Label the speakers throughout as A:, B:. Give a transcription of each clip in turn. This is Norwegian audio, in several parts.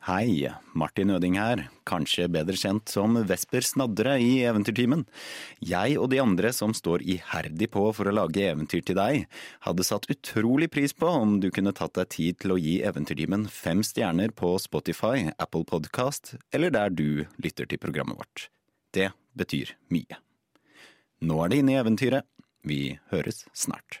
A: Hei, Martin Øding her, kanskje bedre kjent som Vesper Snadre i Eventyrtimen. Jeg og de andre som står iherdig på for å lage eventyr til deg, hadde satt utrolig pris på om du kunne tatt deg tid til å gi Eventyrtimen fem stjerner på Spotify, Apple Podcast eller der du lytter til programmet vårt. Det betyr mye. Nå er det inne i eventyret. Vi høres snart.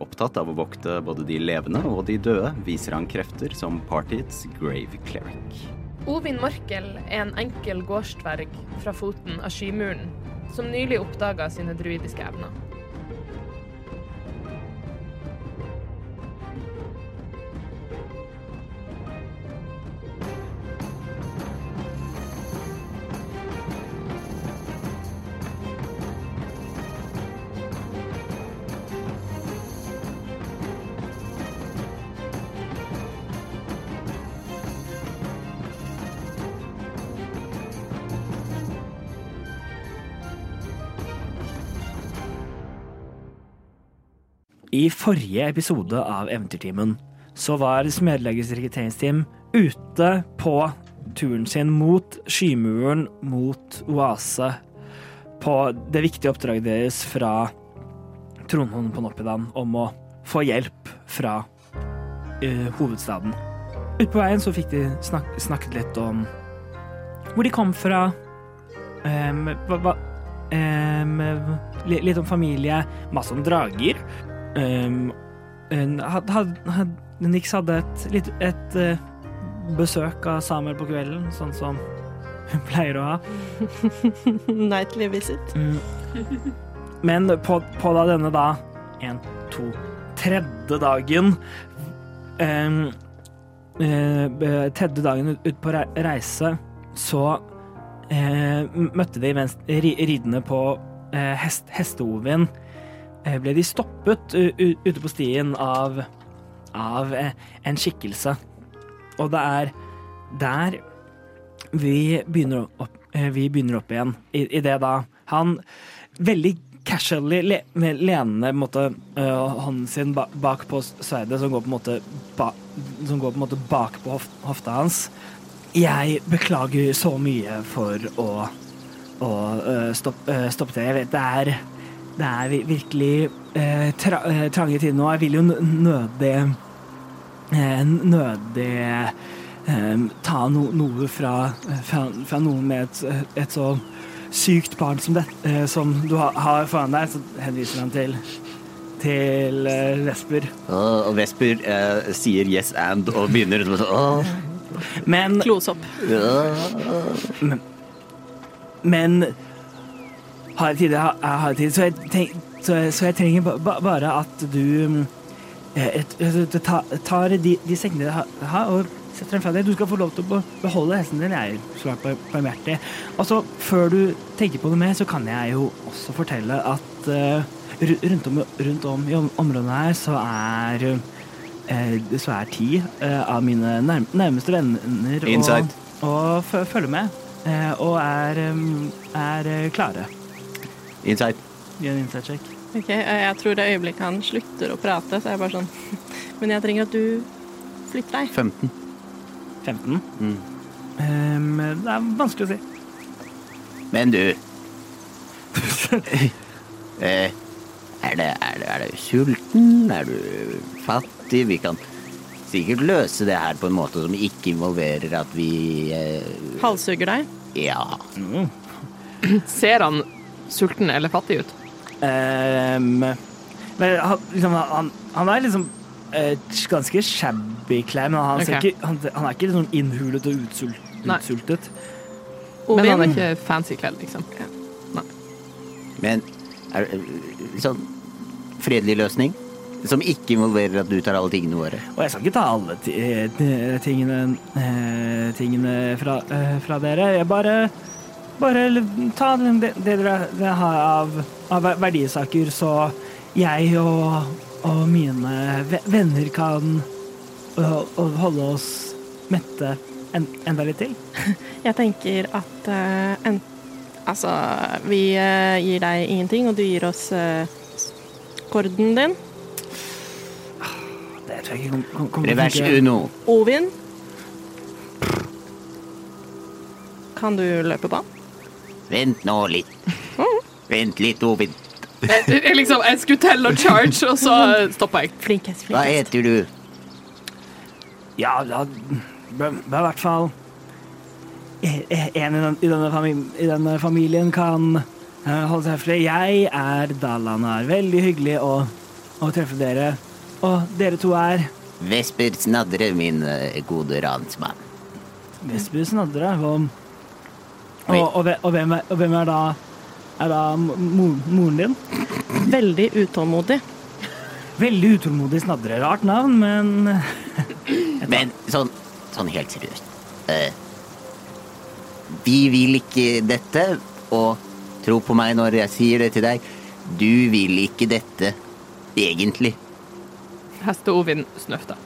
A: Opptatt av å vokte både de levende og de døde, viser han krefter som partiets grave cleric.
B: Ovin Mørkel er en enkel gårdsdverg fra foten av Skymuren, som nylig oppdaga sine druidiske evner.
C: I forrige episode av Eventyrtimen så var Smedeleggets rekrutteringsteam ute på turen sin mot Skymuren, mot Oase, på det viktige oppdraget deres fra Trondheim på Noppidan om å få hjelp fra eh, hovedstaden. Ute på veien så fikk de snak snakket litt om hvor de kom fra, em, hva, hva, em, li- litt om familie, masse om drager. Um, en, had, had, had, Nix hadde et, litt, et eh, besøk av samer på kvelden, sånn som hun pleier å ha.
D: Nightly visit.
C: Men på, på da denne da, en, to, tredje dagen em, eh, be- Tredje dagen ut, ut på re- reise, så eh, møtte de mens, ri, ridende på eh, hest, hestehovin. Eh, ble de stoppet u, u, ute på stien av, av eh, en skikkelse. Og det er der vi begynner opp, eh, vi begynner opp igjen. I, i det da han veldig casually le, med lenende på en måte, øh, hånden sin ba, bak på sverdet, som går på en måte, ba, som går på en måte bak på hof, hofta hans. Jeg beklager så mye for å, å øh, stopp, øh, stoppe det. Jeg vet det er, det er vi- virkelig øh, tra, øh, trange tider nå. Jeg vil jo n- nødig eh, nødig eh, ta no, noe fra, eh, fra, fra noen med et, eh, et så sykt barn som, det, eh, som du har, har foran deg, så henviser han til til eh, Vesper.
A: og Vesper eh, sier yes and og begynner liksom sånn «Åh,
C: Men,
D: Close up.
C: men harde tider har- er harde tider, så jeg, tenk, så, jeg- så jeg trenger ba, ba, bare at du mm, eh, et, et, et, ta, tar de, de sekkene du har, har, og setter dem fra deg. Du skal få lov til å be- beholde hesten din. Jeg er svært bar- barmhjertig. Og så, før du tenker på det mer, så kan jeg jo også fortelle at eh, ru- rundt, om, rundt om i om- området her, så er eh, så er ti eh, av mine nærm nærmeste venner
A: Inside.
C: og, og fø- følger med. eh, og er, em, er eh, klare.
A: Insight.
C: Gjør en insight check.
D: Ok, eh, Jeg tror det øyeblikket han slutter å prate, så er jeg bare sånn Men jeg trenger at du flytter deg.
A: 15.
C: 15. Em, Ehm, det er vanskelig å si.
A: Men du eh, er, det, er, det, er du sulten? Er du fattig? Vi kan sikkert løse det her på en måte som ikke involverer at vi eh,
D: Halshugger deg.
A: Ja.
B: Ser han sulten eller fattig ut?
C: Ehm, men han, liksom, han, han er liksom eh, ganske shabby klær, men han, ser
B: Ok.
C: ikke, han, han er ikke liksom innhulet og utsult,
B: Nei.
C: utsultet.
B: Men han er
D: Ovin,
B: ikke fancy kledd, liksom.
E: Men er, sånn fredelig løsning?
A: Som ikke involverer at du tar alle tingene våre.
C: Og jeg skal ikke ta alle ti- eh, tingene, eh, tingene fra, eh, fra dere. Jeg bare Bare l- ta den- det, det dere dere har av, av ver- verdisaker, så jeg og, og mine ve- venner kan å- å holde oss mette en, enda litt til.
D: Jeg tenker at eh, en, Altså, vi eh, gir deg ingenting, og du gir oss eh, s- korden din.
C: Det tror jeg ikke kom- kom- kommer til å
A: Revers
C: funke.
A: uno.
D: Ovin. Kan du løpe på han?
A: Vent nå litt. Vent litt, Ovin.
F: Jeg, jeg, liksom, jeg skulle telle og charge, og så stoppa jeg.
D: Flinkest,
A: Hva
D: flinkest.
A: heter du?
C: Ja, da bør bør i hvert fall e- e- en i, den, i, denne famil- i denne familien kan eh, holde seg høflig. Jeg er Dalanar. Veldig hyggelig å, å treffe dere. Og dere to er
A: Vesper Snadre, min eh, gode ransmann.
C: Vestby Snadre. Og, og, og, hve- og, hvem, er, og hvem er da, er da mo- mo- moren din?
D: Veldig utålmodig.
C: Veldig utålmodig Snadre. Rart navn, men
A: Men sånn, sånn helt seriøst eh, Vi vil ikke dette, og tro på meg når jeg sier det til deg, du vil ikke dette egentlig.
F: Heste-Ovin snøfta.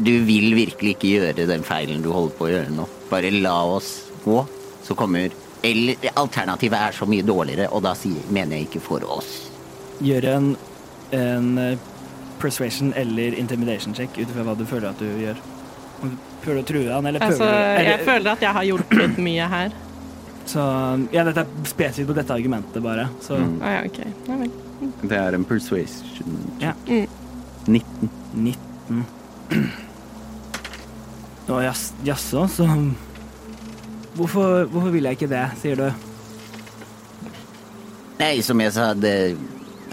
A: Du vil virkelig ikke gjøre den feilen du holder på å gjøre nå. Bare la oss gå, så kommer Eller alternativet er så mye dårligere, og da sier, mener jeg ikke for oss.
C: gjør en, en eh, persuasion eller intimidation check ut fra hva du føler at du gjør. Om du prøver å true han, eller prøver
D: Altså,
C: du
D: jeg
C: eller,
D: føler at jeg har hjulpet mye her.
C: Så ja, dette er spesifikt på dette argumentet, bare. Så
D: Å Ah, ja, OK. Nei vel.
G: Det er en persuasion.
C: Ja.
G: 19.
C: 19. Nå, jas- jaså, så hvorfor, hvorfor vil jeg ikke det, sier du?
A: Nei, som jeg sa, det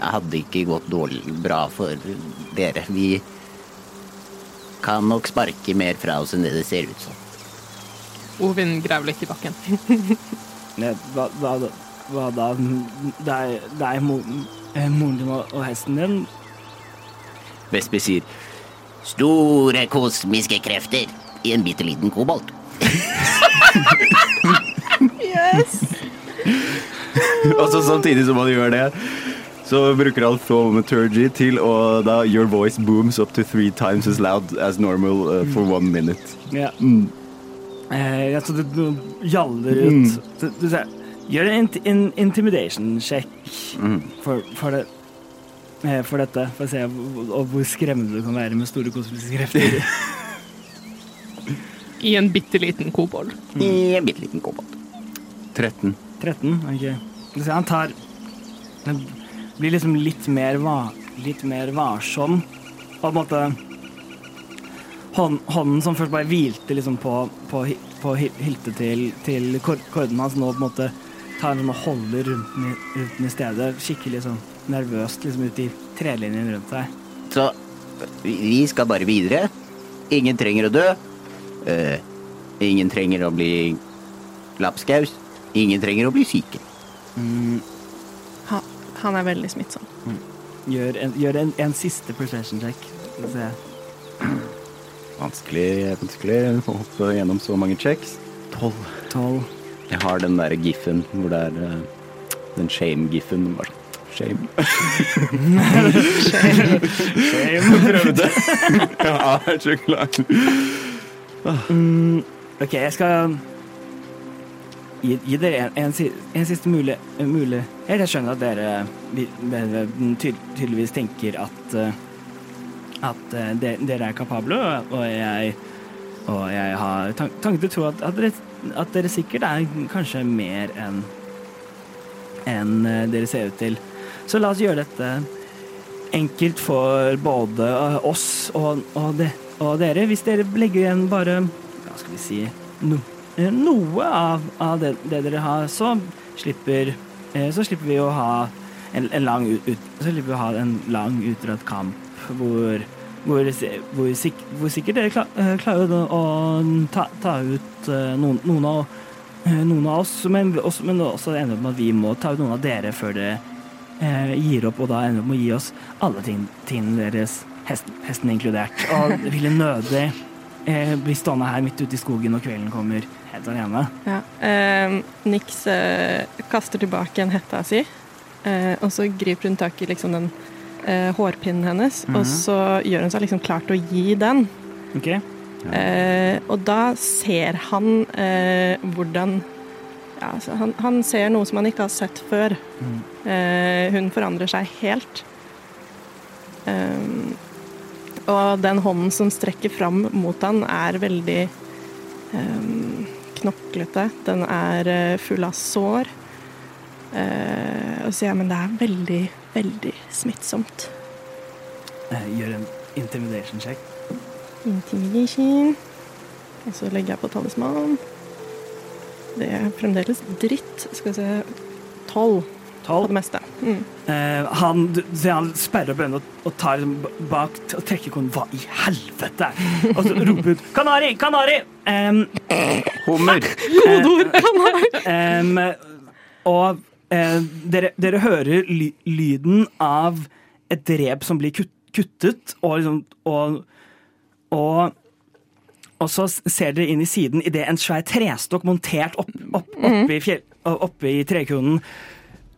A: hadde ikke gått dårlig bra for dere. Vi kan nok sparke mer fra oss enn det det ser ut som.
F: Ovin graver litt i bakken.
C: Ne, Hva, hva, da- hva da? Deg, deg mo, eh, moren din og, og hesten din?
A: Vesper sier Store kosmiske krefter i en bitte liten kobolt.
G: Og så Altså, samtidig som han gjør det, så bruker han thaumaturgy til å da Your voice booms up to three times as loud as normal uh, for one minute.
C: Ja. Eh, ja, så du, du gjaller ut. Du, du ser, gjør en int- in intimidation-sjekk for, for, det- eh, for dette. For å se hvor, og hvor skremmende du kan være med store kosmiske krefter.
F: I en bitte liten kobold.
A: I en bitte liten kobolt.
G: 13.
C: 13, ok. Du ser han tar Han blir liksom litt mer, va, litt mer varsom. På en måte hånd, Hånden som først bare hvilte liksom på, på, hi- på hi- hiltet til, til kor- korden hans, nå på en måte tar han sånn og holder rundt den, i- rundt den i stedet. Skikkelig sånn nervøst liksom ut i trelinjen rundt seg.
A: Så vi- vi skal bare videre. Ingen trenger å dø. Eh, ingen trenger å bli lapskaus. Ingen trenger å bli syke.
D: Ha, han er veldig smittsom.
C: Gjør en, gjør en, en siste persuasion check. Skal vi se.
G: Vanskelig, vanskelig å hoppe gjennom så mange checks. 12.
C: 12.
G: Jeg har den der giffen hvor det er uh, den shame-giffen. Bare sånn, Shame. shame. Prøvde. ja, jeg er så glad.
C: Ok, jeg skal gi, gi dere en, en, si- en siste mulig, mulig Jeg skjønner at dere vi- dere tyd, tydeligvis tenker at eh, at eh, de, dere er kapable, og- og jeg og jeg har tan- tanke til å tro at, at, dere, at dere sikkert er kanskje mer enn enn eh, dere ser ut til. Så la oss gjøre dette enkelt for både eh, oss og, og, de, og dere, hvis dere legger igjen bare Hva skal vi si no, eh, Noe av, av det, det dere har, så slipper eh, Så slipper vi å ha en, en lang ut, ut, Så slipper vi å ha en lang utdratt kamp hvor hvor, si- hvor, sik, hvor sikkert dere kla- eh, klarer å å ta, ta ut eh, noen, noen, av, eh, noen av oss, men også, men også ender opp med at vi må ta ut noen av dere før dere eh, gir opp og da ender opp med å gi oss alle ting- tingene deres, hesten, hesten inkludert. Og ville nødig eh, bli stående her midt ute i skogen når kvelden kommer, helt alene.
D: Ja. Eh, Nix eh, kaster tilbake en hetta si, eh, og så griper hun tak i liksom, den eh, hårpinnen hennes,
C: Mhm.
D: og så gjør hun seg liksom klar til å gi den.
C: Ok?
D: Eh, og da ser han eh, hvordan ja, altså, han, han ser noe som han ikke har sett før. Eh, hun forandrer seg helt. Ehm, og den hånden som strekker fram mot han, er veldig ehm, knoklete. Den er eh, full av sår. Eh, og så sier jeg, men det er veldig, veldig smittsomt.
C: Eh, gjør en intimidation check.
D: Intimidation. Og så legger jeg på talisman. Det er fremdeles dritt. Skal vi se Tolv på
C: Tolv.
D: det meste. Mm.
C: Eh, han, du, ser han sperrer opp øynene og, og tar liksom b- bak t- og trekker konen. Hva i helvete? Og så roper hun 'Kanari! Kanari!' Em,
G: Hummer!
C: em, og eh, dere, dere hører ly, lyden av et rep som blir kut, kuttet, og liksom og, og og så s- ser dere inn i siden idet en svær trestokk montert opp, opp, oppe, i fjell, oppe i trekronen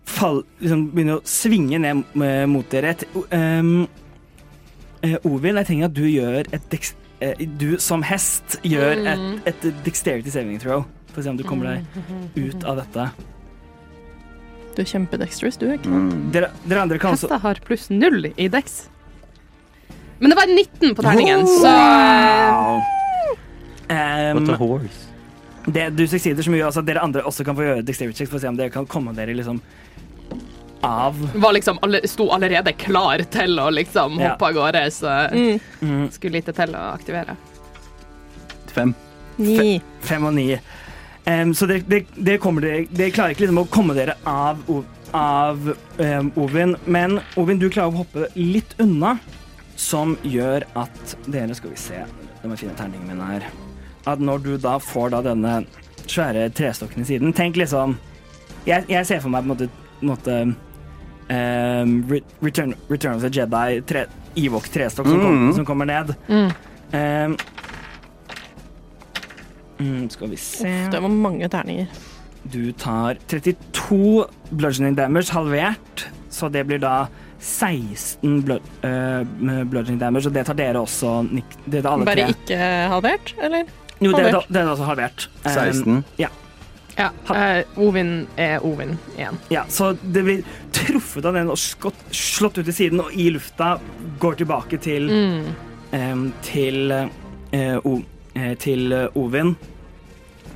C: fall, liksom, begynner å svinge ned eh, mot dere. Et, ehm, eh, Ovil, jeg trenger at du gjør et dex, eh, Du som hest gjør et, et dexterity saving throw. For å se om du kommer deg ut av dette.
D: Du er kjempedexterous, du. ikke sant?
G: Mm.
C: Dere, dere andre kan også
F: Hester har pluss null i dex. Men det var 19 på terningen, så eh,
C: Ehm, det du succeeder så mye, altså at dere andre også kan få gjøre dexterity checks for å se om dere kan komme dere liksom av
F: var liksom alle, sto allerede klar til å liksom
C: Ja.
F: hoppe av gårde, så
D: Mm.
F: skulle lite til å aktivere.
G: Fem.
C: Mm.
D: Ni.
C: Fem og ni. Em, så dere, dere, dere, kommer dere, dere klarer ikke liksom å komme dere av, O- av em, Ovin, men Ovin, du klarer å hoppe litt unna, som gjør at dere Skal vi se, da må jeg finne terningene mine her. At når du da får da denne svære trestokken i siden Tenk liksom Jeg, jeg ser for meg på en måte, på en måte em, Re- Return, Return of the Jedi, tre, Ewok-trestokk som, kom-
G: Mhm.
C: som kommer ned. Em, mm, skal vi se
D: Uff, det var mange terninger.
C: du tar 32 bludgeoning damage halvert, så det blir da 16 blud, eh, med bludgeoning damage, og det tar dere også, Nick. Det tar alle
D: Bare
C: tre.
D: ikke halvert, eller?
C: Jo, det,
D: halvert.
C: det er også halvert. Eh,
G: 16.
F: Ja, eh, Ovin er Ovin igjen.
C: ja, så det blir truffet av den og skott, slått ut i siden, og i lufta går tilbake til eh, til eh, o, eh, til eh, Ovin.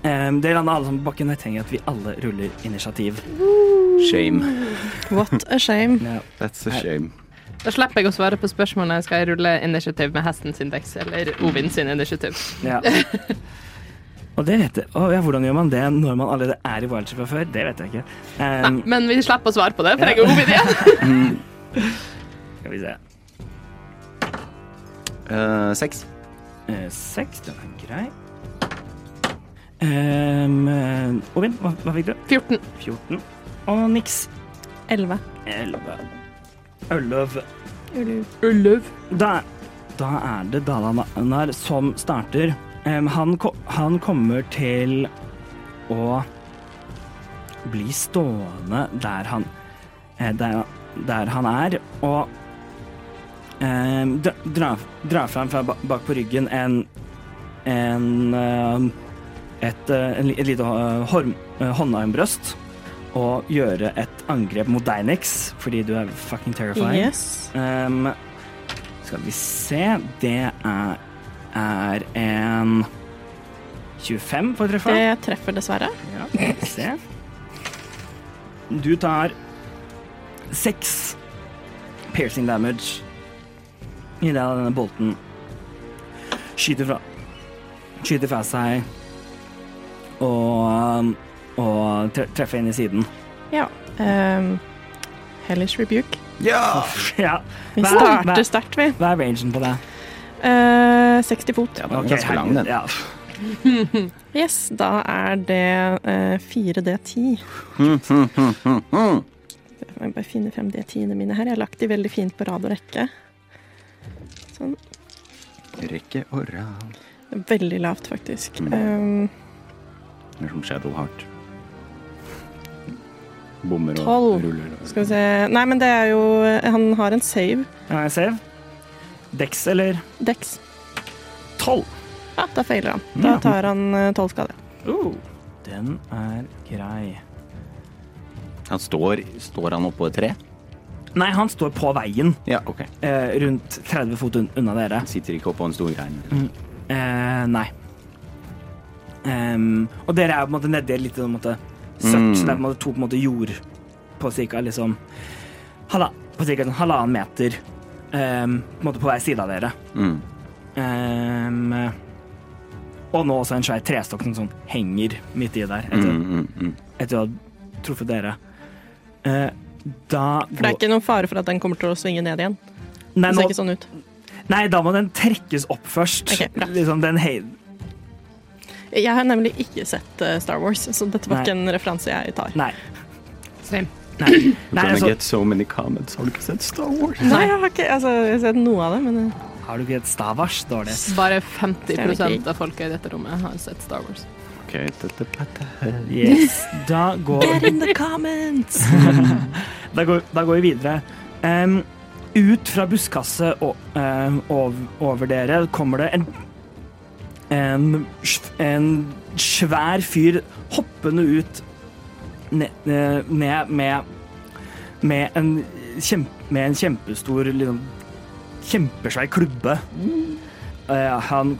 C: Eh, det lander alle sammen på bakken. Jeg trenger at vi alle ruller initiativ.
G: Shame.
D: What a shame.
C: Ja.
G: That's a shame.
F: Da slipper jeg å svare på spørsmålet skal jeg rulle initiativ med hesten sin dex eller Ovin sin initiativ.
C: Ja. Og det vet jeg. Å, ja, hvordan gjør man det når man allerede er i wildship fra før? Det vet jeg ikke.
F: Nei,
C: Ehm,
F: men vi slipper å svare på det, for jeg er Ovin igjen.
C: skal vi se.
G: Eh, seks.
C: Eh, Seks, den er grei. Ehm, eh, Ovin, hva, hva fikk du?
F: 14.
C: 14. Og niks.
D: Elleve.
C: 11. 11.
F: Ulv.
C: Da, da er det Dalanar som starter. Ehm, han, ko- han kommer til å bli stående der han, eh, der, der han er, og ehm, dra, dra, dra fram fra ba- bak på ryggen en, en ehm, et, eh, en, li- et lite eh, horm, eh, håndarmbrøst og gjøre et angrep mot deg, Nix, fordi du er fucking terrifying.
D: Yes.
C: Ehm, skal vi se Det er, er en 25 for å treffe.
D: Det treffer dessverre.
C: Ja, skal vi se. Du tar seks piercing damage idet denne bolten skyter fra Skyter fra seg og, og tre- treffer inn i siden.
D: Ja. Um, Hellish rebuke.
G: Ja!
C: Ja.
D: Vi
C: Hva-
D: starter
C: hva-
D: sterkt, vi.
C: Hva er rangen på det?
D: Eh, 60 fot.
G: den er ganske lang, den.
C: Ja.
D: Yes, da er det eh, 4D10.
G: Mm, mm, mm, mm, mm.
D: Må Jeg bare finne frem de tiende mine her. Jeg har lagt de veldig fint på rad og rekke. Sånn.
G: Rekke og rad.
D: Veldig lavt, faktisk.
G: Mm.
D: Um,
G: Det er som Shadow Heart. Bommer og
D: Tolv.
G: ruller.
D: skal vi se Nei, men det er jo Han har en save.
C: Kan jeg save? Dex eller
D: Dex.
C: tolv?
D: Ja, da feiler han. Da
C: Mm.
D: tar han eh, tolv skader.
C: Uh, den er grei.
G: Han står, står han oppå et tre?
C: Nei, han står på veien,
G: Ja, ok.
C: eh, rundt 30 fot un- unna dere.
G: Han sitter ikke oppå en stor grein.
C: Eh, nei. Em, og dere er på en måte nedi litt sånn, på en måte, søtt,
G: Mm.
C: så det er på en måte to på en måte jord på cirka liksom halva, På cirka sånn halvannen meter em, på, en måte på hver side av dere.
G: Mm.
C: Em, og nå også en svær trestokk som sånn henger midt i der,
G: Mm,
C: etter,
G: mm, mm.
C: etter å ha truffet dere. Eh, da
D: For det er ikke noen fare for at den kommer til å svinge ned igjen.
C: Nei,
D: Det
C: nå,
D: ser ikke sånn ut.
C: nei, da må den trekkes opp først.
D: Ok, bra.
C: liksom den hei...
D: Jeg har nemlig ikke sett eh, Star Wars, så dette var
C: Nei.
D: ikke en referanse jeg tar.
C: Nei.
F: Same.
C: Nei, nei
G: Gonna
C: altså,
G: get so many comments. Har du ikke sett Star Wars?
D: Nei, jeg har ikke altså, jeg har sett noe av det, men eh,
C: har du ikke et stavars? Dårlig.
B: Bare 50 av folket i dette rommet har sett Star Wars.
G: Ok, dette dette-
C: Yes. Da går,
D: Get in the comments!
C: da går, da går vi videre. Em, ut fra buskaset og, em, ov, over dere kommer det en, en, sv- en svær fyr hoppende ut ned, ned med, med, en kjem, med en kjempestor liksom, Kjempesvær klubbe. Eh, han,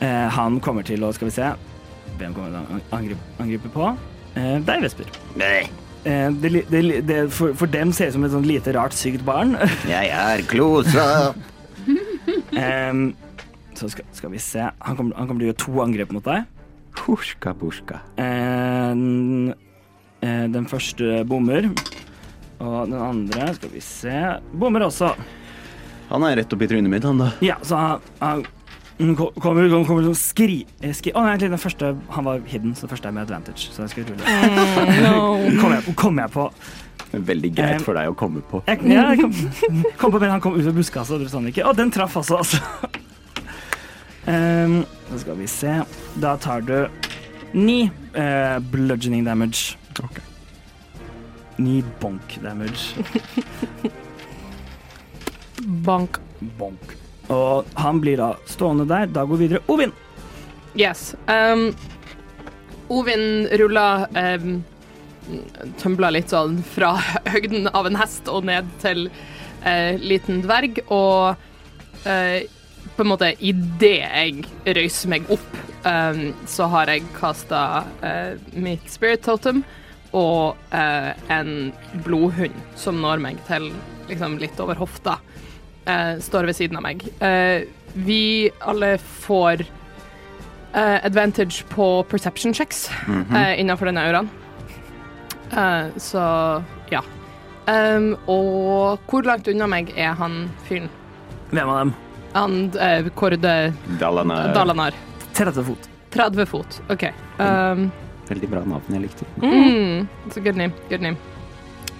C: eh, han kommer til å Skal vi se Hvem kommer han til å angripe, angripe på? Uh, deg, Vesper.
A: Nei,
C: Eh, det, li- det, li- det, for, for dem ser det ut som et sånn lite rart sykt barn.
A: jeg er Klosa.
C: Em, så skal, skal vi se. Han kommer, han kommer til å gjøre to angrep mot deg.
G: Huska, buska.
C: Em, eh, den første bommer. Og den andre skal vi se bommer også.
G: Han er rett opp i trynet mitt, han da.
C: Ja, så han, han mm, ko- kommer ut kommer sånn skri... eh, skri å nei, egentlig, den første han var hidden, så den første er med advantage. Så jeg skal rulle.
D: No.
C: Kommer jeg, på- kommer jeg på
G: Veldig greit for deg å komme på.
C: Jeg, ja, jeg kom, kom på, men han kom ut av buskaset, og det sa han ikke. Å, den traff også, altså. Ehm, så skal vi se. Da tar du ni eh, bludgeoning damage.
G: Ok.
C: Ni bonk damage.
F: Bank.
C: Bonk. Og han blir da stående der. Da går videre Ovin.
B: Yes. Um, Ovin rulla um, Tømbla litt sånn fra høgden av en hest og ned til eh, liten dverg, og eh, på en måte idet jeg røyser meg opp, um, så har jeg kasta mitt spirit totem og eh, en blodhund som når meg til liksom litt over hofta. eh, står ved siden av meg. Eh, vi alle får Eh, advantage på perception checks eh, innenfor denne auraen. Eh, så ja. Ehm, og hvor langt unna meg er han fyren?
C: Hvem av dem?
B: Han uh, Kårde
H: Eh.
G: Dalana er
B: Dalanar.
C: 30 fot.
B: 30 fot. OK. Ehm,
G: veldig bra navn jeg likte.
B: mm, så good name, good name.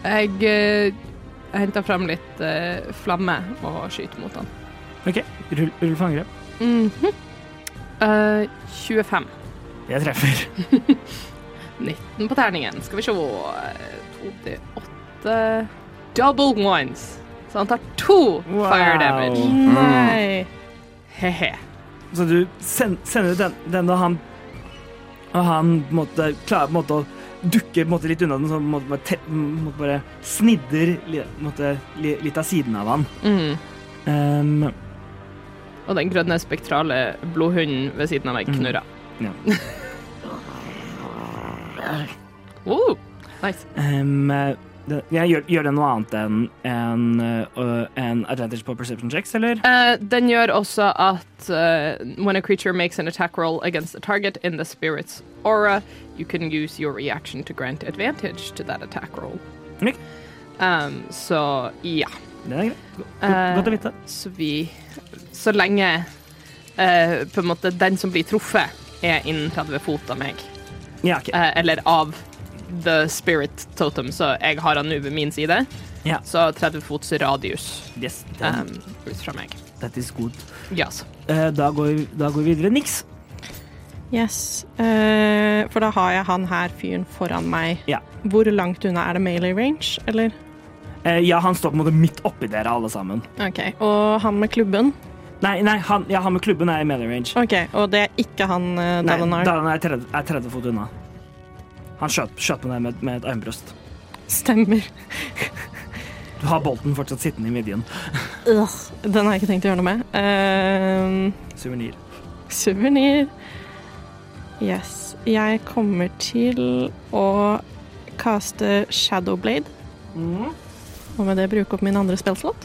B: Jeg uh, henter fram litt eh, flamme og skyter mot han.
C: OK, rull, rull for angrep.
B: Mhm. Eh, 25.
C: Jeg treffer.
B: 19 på terningen. Skal vi se 28 Double ones. Så han tar to
C: Wow.
B: fire damage.
D: Nei.
C: Mm.
B: Hehe.
C: Så du send, sender ut den, den, og han Og han på en måte, klarer på en måte å dukke på en måte, litt unna den, så på en måte, bare te, på en måte, bare snidder li, på en måte, li, litt av siden av han.
B: Mm.
C: Ehm,
B: Og den grønne spektrale blodhunden ved siden av meg knurrer.
C: Mm. Ja.
B: oh, nice.
C: ehm, det, jeg gjør, gjør det noe annet enn en, en advantage på perception checks, eller?
B: Eh, den gjør også at eh, when a creature makes an attack roll against a target in the spirit's aura, you can use your reaction to grant advantage to that attack roll.
C: Ok.
B: Um, så ja.
C: Det er greit. Go-
B: Eh,
C: go- Godt å vite.
B: Så vi Så lenge eh, på en måte den som blir truffet, er innen 30 fot av meg.
C: Ja, ok.
B: eh, eller av the spirit totem, så jeg har han nå ved min side.
C: Ja.
B: Så 30 fots radius
C: Yes,
B: eh,
C: that,
B: ut fra meg.
C: that is good.
B: Ja, så.
C: Eh, da, går vi, da går vi videre. Niks.
D: Yes. Eh, for da har jeg han her fyren foran meg.
C: Ja.
D: Hvor langt unna er det melee range, eller?
C: Eh, ja, han står på en måte midt oppi dere alle sammen.
D: OK. Og han med klubben?
C: Nei, nei han, ja, han med klubben er i melee range.
D: OK. Og det er ikke han uh,
C: Nei,
D: Dalinar.
C: Dalanar er 30, er 30 fot unna. Han skjøt, skjøt på deg med, med et armbrøst.
D: Stemmer.
C: Du har bolten fortsatt sittende i midjen.
D: Øh, Den har jeg ikke tenkt å gjøre noe med. Uh,
C: Suvenir.
D: Suvenir. Yes. Jeg kommer til å kaste Shadowblade. Og med det bruke opp min andre spillslott.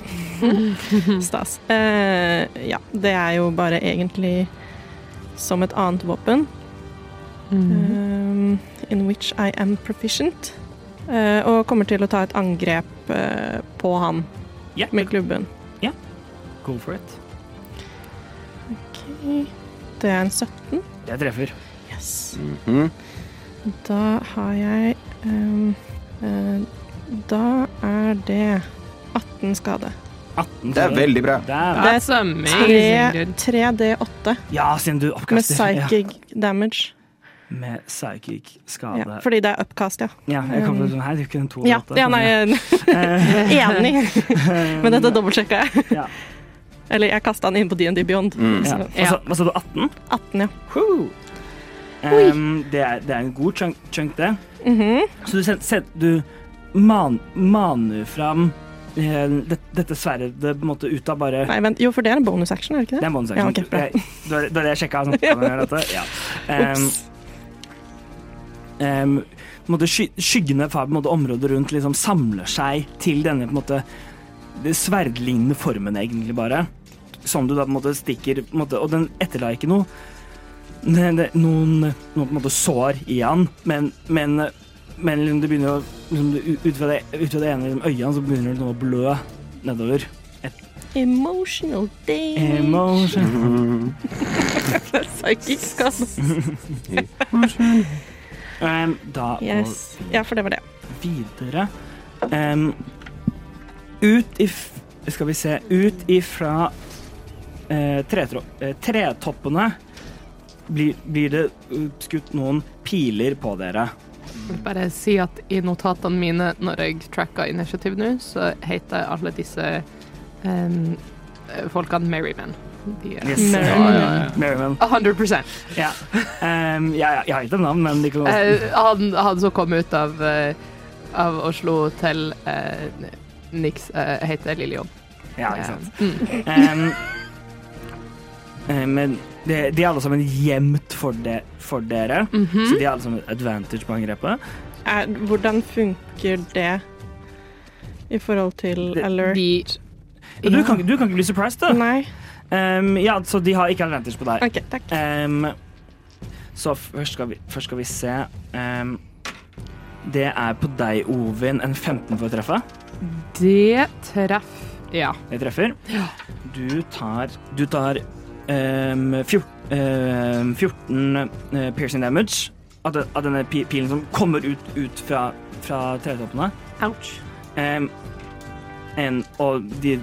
D: Stas. Eh, ja, det er jo bare egentlig som et annet våpen.
B: Mm.
D: Eh, in which I am proficient. Eh, og kommer til å ta et angrep eh, på han
C: Ja,
D: med klubben.
C: go for it.
D: Ok. Det er en 17.
C: Jeg treffer.
D: Yes. Da har jeg ehm, eh, Da er det 18 skade.
C: 18
G: Det er veldig bra.
C: Der.
B: That's amazing, dude.
D: 3D8
C: Ja, siden du
D: med
C: oppkaster.
D: psychic damage.
C: Ja, med psychic skade.
D: Ja,
C: Ja,
D: fordi det er upcast, ja.
C: jeg kom til å si, Nei, det er jo ikke en to
D: Ja,
C: åtte,
D: ja nei,
C: men
D: enig. Men dette dobbeltsjekka jeg.
C: ja.
D: Eller jeg kasta den inn på D&D Beyond.
G: Mm.
C: Ja.
D: Så
C: Hva sa- Hva sa du, 18?
D: 18, ja.
C: Woo! Ehm, det, er, det er en god chunk, chunk det.
D: Mhm.
C: Så du, sen, sen, du man, maner fram eh, det, dette sverdet på en måte ut av bare
D: Nei, vent. Jo, for det er en bonus action, er det ikke
C: Det
D: det?
C: er bonus
D: Ja,
C: action.
D: ok, bra.
C: Jeg- Da da hadde jeg sjekka sånn, kan man gjøre dette? Ja. Ehm,
D: Ops.
C: ehm, på en måte sky, skyggene fra på en måte, området rundt liksom samler seg til denne på en måte det sverdlignende formen, egentlig bare. Som du da på en måte stikker på en måte, Og den etterlater ikke noe ne- ne- noen, noen på en måte sår i han, men, men, men liksom det begynner å liksom, det- ut, fra det, ut fra det ene liksom, øyet hans så begynner det liksom å blø nedover.
D: Emotional damage.
C: Emotion.
D: Psychic skade.
C: Ehm, da må
D: Yes. Ja, for det var det.
C: videre. Em, ut if, Skal vi se Ut ifra eh, tretro, eh, tretoppene blir, blir det uh, skutt noen piler på dere.
B: Jeg vil Bare si at i notatene mine når jeg tracker initiativ nå, så heter alle disse em, folkene Merryman. De er
C: Yes.
D: Merriman.
C: Ja, ja, ja. Merriman.
B: 100
C: Ja. Em, ja, ja, jeg har ikke et navn, men de kan også
B: Eh, han, han som kom ut av, eh, av Oslo til eh, Nix, eh, heter Lillian.
C: Ja, ikke sant.
B: Mm.
C: Em, eh, men de, de er alle sammen gjemt for, de, for dere,
B: Mhm.
C: så de er alle sammen advantage på angrepet.
D: Er, hvordan funker det i forhold til
C: Det-
D: alert?
B: De,
C: Ja, Du, kan, ikke- du kan ikke bli surprised, da.
D: Nei?
C: Em, Ehm, ja, så de har ikke advantage på deg.
D: OK, takk.
C: Ehm, så først skal vi, først skal vi se Ehm, Det er på deg, Ovin, en 15 for å treffe.
B: det treffer Ja.
C: Jeg treffer. Du tar, du tar ehm, fjor- ehm, 14 eh, piercing damage av, den, av denne pi- pilen som kommer ut, ut fra, fra tretoppene.
B: Ouch.
C: Ehm, en, og de eh,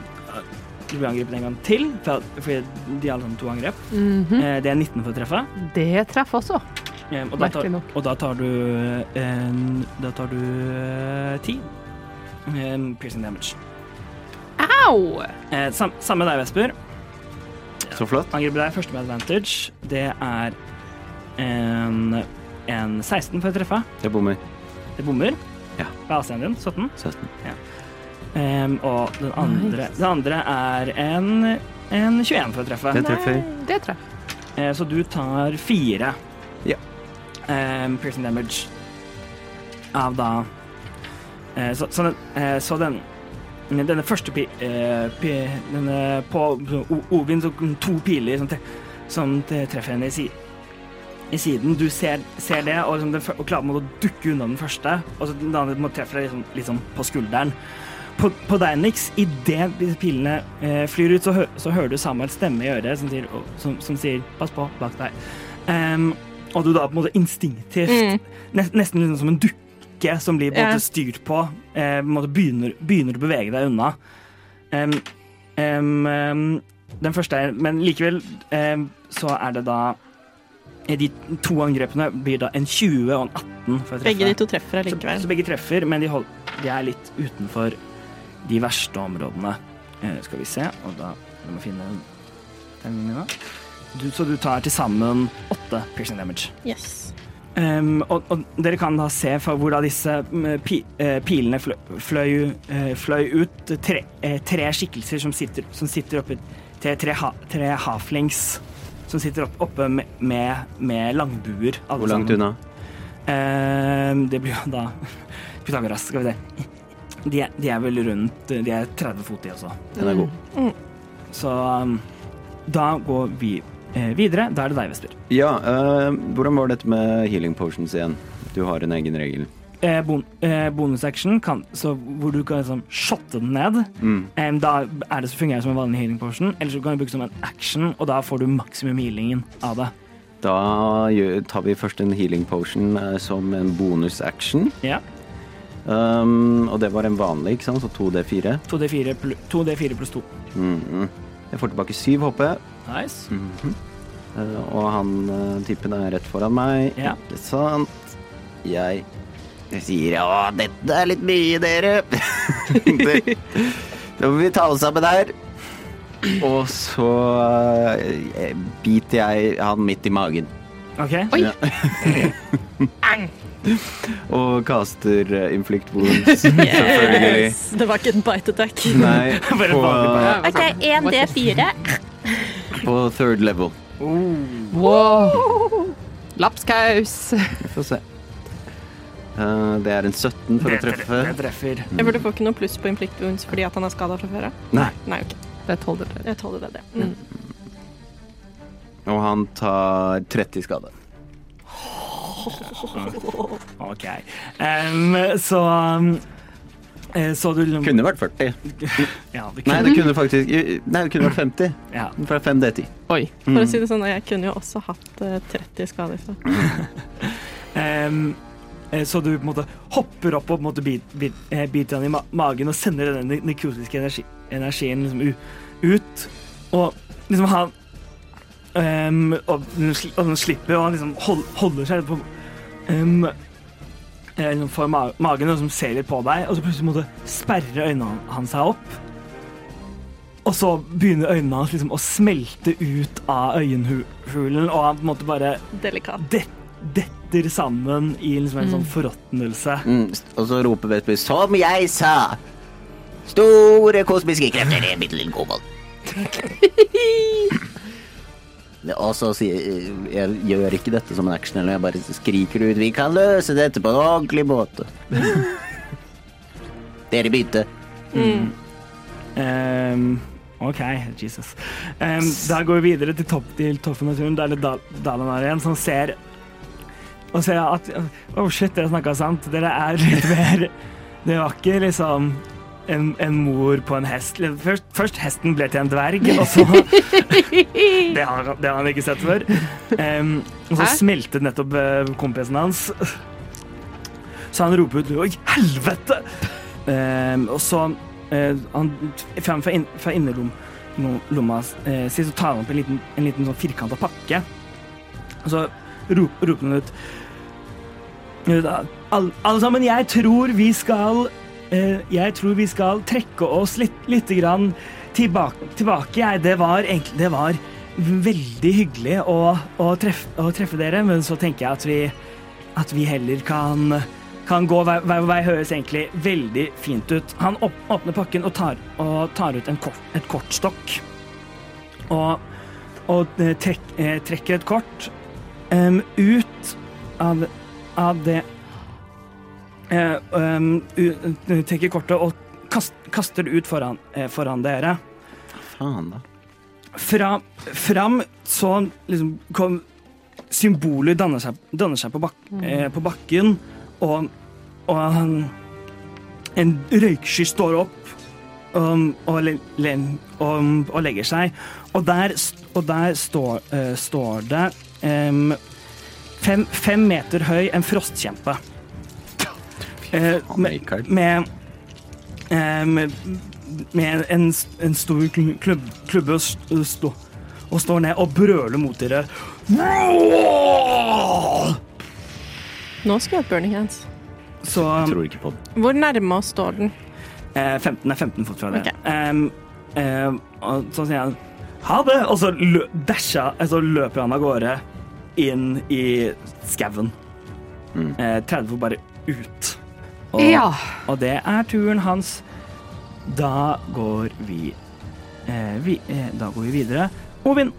C: du blir angrepet en gang til, for- fordi de har liksom to angrep.
B: Mhm.
C: Eh, det er 19 for å treffe.
B: Det treffer også.
C: Eh, og, da tar,
B: Merkelig nok.
C: og da tar du eh, en, Da tar du eh, ti eh, piercing damage.
B: Au!
C: Eh, sam, samme deg, Vesper.
G: Så flott.
C: Angriper deg første med advantage. Det er en, en 16 for å treffe.
G: Jeg bommer.
C: Det bommer.
G: Ja.
C: Hva er AC-en din? 17?
G: 17.
C: Ehm, og den andre, den andre er en, en 21 for å treffe.
G: Jeg treffer.
B: Det treffer.
C: Eh, så du tar fire
G: Ja.
C: Ehm, piercing damage av da eh, så, så, den, eh, så den denne første pi, eh, pi, denne, På O- Ovin så kom to piler som, tre, som tre- treffer henne i, si, i siden. Du ser, ser det og, liksom, den, fyr- og klarer på en måte å dukke unna den første, og så den andre må treffe deg liksom, liksom på skulderen. På, på deg, Nix, idet pilene eh, flyr ut, så, hø, så hører du Samuels stemme i øret som sier, og- som, som sier 'pass på,
D: Mm,
C: bak deg'. Ehm, og du da på en måte instinktivt, nes- nesten liksom som en duk, brikke som blir på en
D: Ja.
C: måte styrt på, eh, på en måte begynner, begynner å bevege deg unna. Em, em, em, den første er Men likevel em, så er det da eh, De to angrepene blir da en 20 og en 18 for å treffe.
D: Begge de to treffer
C: Så,
D: allikevel.
C: så begge treffer, men de, hold, de er litt utenfor de verste områdene. Eh, skal vi se, og da må vi finne terminen min, da. Du, så du tar til sammen åtte piercing damage.
D: Yes.
C: Ehm, og, og dere kan da se fra hvor da disse mm, pi, eh, pilene fløy, fløy, eh, fløy ut tre, eh, tre skikkelser som sitter, som sitter oppe tre, tre, ha, tre halflings som sitter opp, oppe med, med, med langbuer. alle
G: Hvor langt
C: sammen.
G: unna?
C: Ehm, det blir jo da Pythagoras, skal vi se. De er, de er vel rundt De er 30 fot, de også.
G: Den er god.
C: Så um, da går vi eh, videre. Da er det deg, Vesper.
G: Ja, eh, hvordan var dette med healing potions igjen? Du har en egen regel.
C: Eh, bon, eh, bonusaction, kan, så hvor du kan liksom shotte den ned.
G: Mm.
C: Em, da er det så fungerer det som en vanlig healing portion. Eller så kan du bruke det som en action, og da får du maksimum healingen av det.
G: Da gjør- tar vi først en healing potion eh, som en bonusaction.
C: Ja.
G: Um, og det var en vanlig, ikke sant? Så 2D4.
C: 2D4 plu- 2D4 pluss 2.
G: Mhm. Jeg får tilbake syv HP,
C: Nice.
G: Mm. eh, og han eh, typen er rett foran meg.
C: Ja.
G: Ikke sant? Jeg
A: Jeg sier å, dette er litt mye, dere. Det- Nå må vi ta oss sammen her.
G: Og så eh, biter jeg han midt i magen.
C: OK.
B: Oi!
G: Og kaster eh, inflict wounds, selvfølgelig.
D: Yes. Det var ikke en bite attack.
H: Mm.
G: Nei,
C: Bare
G: på, eh,
C: vanlig
B: OK,
H: 1D4.
G: på third level.
B: Wow. Lapskaus.
G: Vi får se. Eh, det er en 17 for å
C: Det tre-
G: treffe.
C: Det treffer.
D: Jeg burde få ikke noe pluss på inflict wounds fordi at han er skada fra før av.
G: Nei.
D: Nei, ok.
B: Det tåler dere.
D: Jeg tåler det. det. Mm.
G: Og han tar 30 skade.
C: OK. Em, så um, eh, Så du
G: Kunne vært 40.
C: Ja,
G: Nei,
C: det kunne
G: det kunne faktisk Nei, det kunne vært 50.
C: ja.
G: Fra 5D10.
B: Oi.
D: For å si det sånn, jeg kunne jo også hatt eh, 30 skader. Så.
C: Em, eh, så du på en måte hopper opp og på en måte bit- bit- eh, biter han i ma magen og sender den ne- nekrotiske energi energien liksom u ut. Og liksom han em, og, den sli- og den slipper, og han liksom hold holder seg på em, eh, liksom for ma magen og liksom ser litt på deg, og så plutselig måtte sperre øynene hans seg opp. Og så begynner øynene hans liksom å smelte ut av øyenhulen, og han på en måte bare
D: Delikat.
C: det, detter sammen i liksom en sånn forråtnelse.
A: Mm, og så roper Vesper som jeg sa. Store kosmiske krefter i en bitte liten kobolt. Og så sier jeg gjør ikke dette som en action, eller jeg bare skriker ut 'Vi kan løse dette på en ordentlig måte'. Dere begynte.
D: Mm.
C: Ehm, OK, Jesus. Ehm, da går vi videre til, topp, til toppen av turen. Da er det Dal Dalanar igjen som ser og ser at Oh shit, dere snakka sant. Dere er litt mer Det var ikke liksom en, en mor på en hest. Først, først hesten ble til en dverg, og så Det har, han- det har han ikke sett før. Ehm, og så
B: Hæ?
C: smeltet nettopp eh, kompisen hans. Så han roper ut Oi, helvete! Ehm, og så eh, han, fra, fra, inn, fra innerlom- no- lomma eh, si, så tar han opp en liten, en liten sånn firkanta pakke. Og så rop, roper han ut Alle, alle sammen, jeg tror vi skal eh, Jeg tror vi skal trekke oss litt, lite grann tilbake, tilbake jeg. Det var egentlig Det var veldig hyggelig å, å, treffe, å treffe dere, men så tenker jeg at vi at vi heller kan, kan gå hver hver vei, høres egentlig veldig fint ut. Han åp åpner pakken og tar, og tar ut en kort, et kortstokk. Og, og eh, trekk, eh, trekker et kort em, ut av, av det eh, em, u- eh, Trekker kortet og kast, kaster det ut foran, eh, foran dere
G: Faen, da.
C: fra, fram så liksom kom Symboler danner seg, danner seg på, bak, eh, på bakken, og, og han, en røyksky står opp um, og, le, le, om- og legger seg. Og der, s- og der står, eh, står det em, fem, fem meter høy en frostkjempe. eh,
G: Mikael.
C: med, med, eh, med, med en, en stor kl- klubb, klubbe og, st- stå, og står ned og brøler mot dere.
D: Nå skal jeg ha burning hands.
C: Så um,
G: Jeg tror ikke på det.
D: Hvor nærme oss står den?
C: eh, 15 er 15 fot fra det.
D: Ok.
C: Em, em, og så sier han ha det, og så lø dasher- altså løper han av gårde inn i skauen. Eh, 30 fot bare ut. Og-
B: Ja.
C: Og det er turen hans. Da går vi, eh, vi eh, Da går vi videre. Ovin.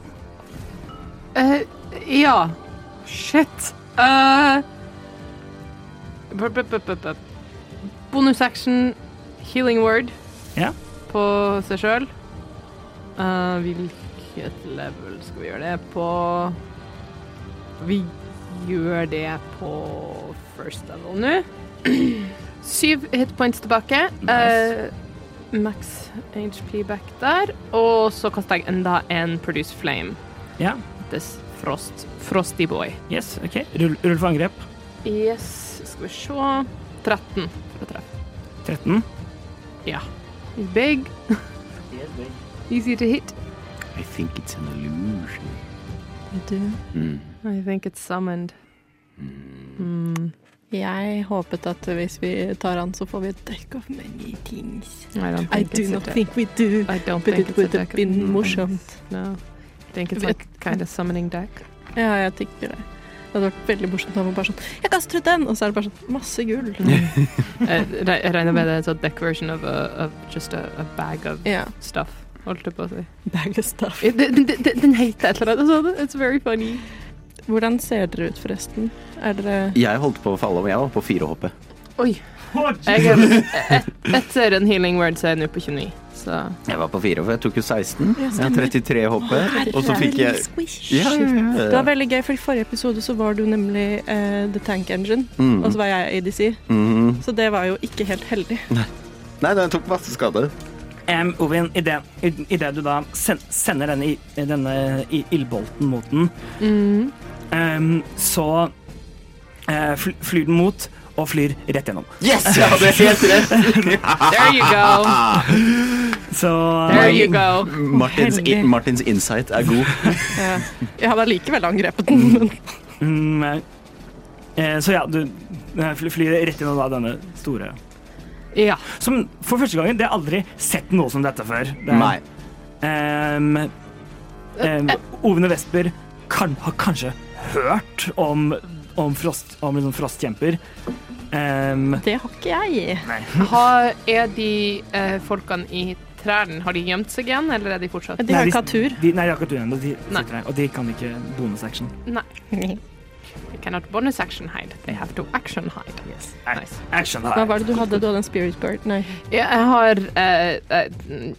B: Eh, ja. Shit. Eh, bu- bu- bu- bu- bu- bonus action, healing word
C: Ja.
B: på seg sjøl. hvilket level skal vi gjøre det på? Vi gjør det på first level nå. Syv hit points tilbake. Eh, max HP back der. Og så kaster jeg enda en produce flame
C: ja.
B: heter Frost. Frosty Boy.
C: Yes, OK. Rull, rull for angrep.
B: Yes, skal vi se 13 for å treffe.
C: 13.
B: Ja. He's big. Easy to hit.
G: I think it's an illusion. Mm.
B: I think it's summoned. Hmm,
D: Jeg håpet at hvis vi tar han, så får vi et dekk av many things.
B: I don't
D: I
B: think
D: do
B: it's
D: not
B: a
D: think we do.
B: I don't
D: But
B: think
D: it
B: it's a
D: would have
B: deck.
D: been morsomt.
B: No. I think it's like kind of summoning deck.
D: Ja, jeg tenker det. Det hadde vært veldig morsomt om han bare sånn Jeg kaster ut den! Og så er det bare sånn masse gull.
B: Eh, re- Jeg regner med det er en sånn deck version of, a, of just a, a bag of
D: Ja.
B: stuff. Holdt jeg på å si.
D: Bag of stuff.
B: Eh, Den, den- den- den heter et eller annet sånt. It's very funny.
D: Hvordan ser dere ut, forresten? Er dere
G: Jeg holdt på å falle om, jeg var på firehoppet.
B: Oi. Jeg er, et, etter en healing word så er jeg nå på 29, så
G: Jeg var på firehoppet, jeg tok jo 16. Jeg har 33 hoppet, og så fikk jeg
D: Squish.
G: ja, ja, ja,
D: Det
G: ja.
D: var veldig gøy, for i forrige episode så var du nemlig eh, The Tank Engine,
G: Mm.
D: og så var jeg ADC.
G: Mhm.
D: Så det var jo ikke helt heldig.
G: Nei, den tok masse skade.
C: Um, Ovin, idet i det du da sen sender denne, i- denne i- ildbolten mot den, em, så eh, fly flyr den mot og flyr rett gjennom.
G: Yes, jeg hadde helt rett!
B: There you go.
C: Så
B: There you go.
G: Martins,
D: Helge.
G: Martins insight er god.
D: Ja. Jeg hadde allikevel angrepet den, men
C: mm, eh, Så ja, du eh, fly- flyr rett gjennom da denne store
B: Ja.
C: Som for første gangen, det har aldri sett noe som dette før. Det er-
G: Nei.
C: Em, em, Ovene Vesper kan, har kanskje hørt om, om, frost, om liksom frostkjemper. Em,
D: det har ikke jeg.
B: Har, er de eh, folkene i trærne, har de gjemt seg igjen, eller er de fortsatt
D: De har ikke hatt tur.
C: De, nei, de har ikke hatt tur ennå. De
B: Nei.
C: sitter her, Og de kan ikke bonusaction.
B: Nei. They cannot bonus action hide. They have to action hide.
C: Ac-
B: Nice.
C: Action
D: Hva
C: her.
D: var det du hadde? Du hadde en spirit guard? Nei.
B: Yeah, I har uh, I,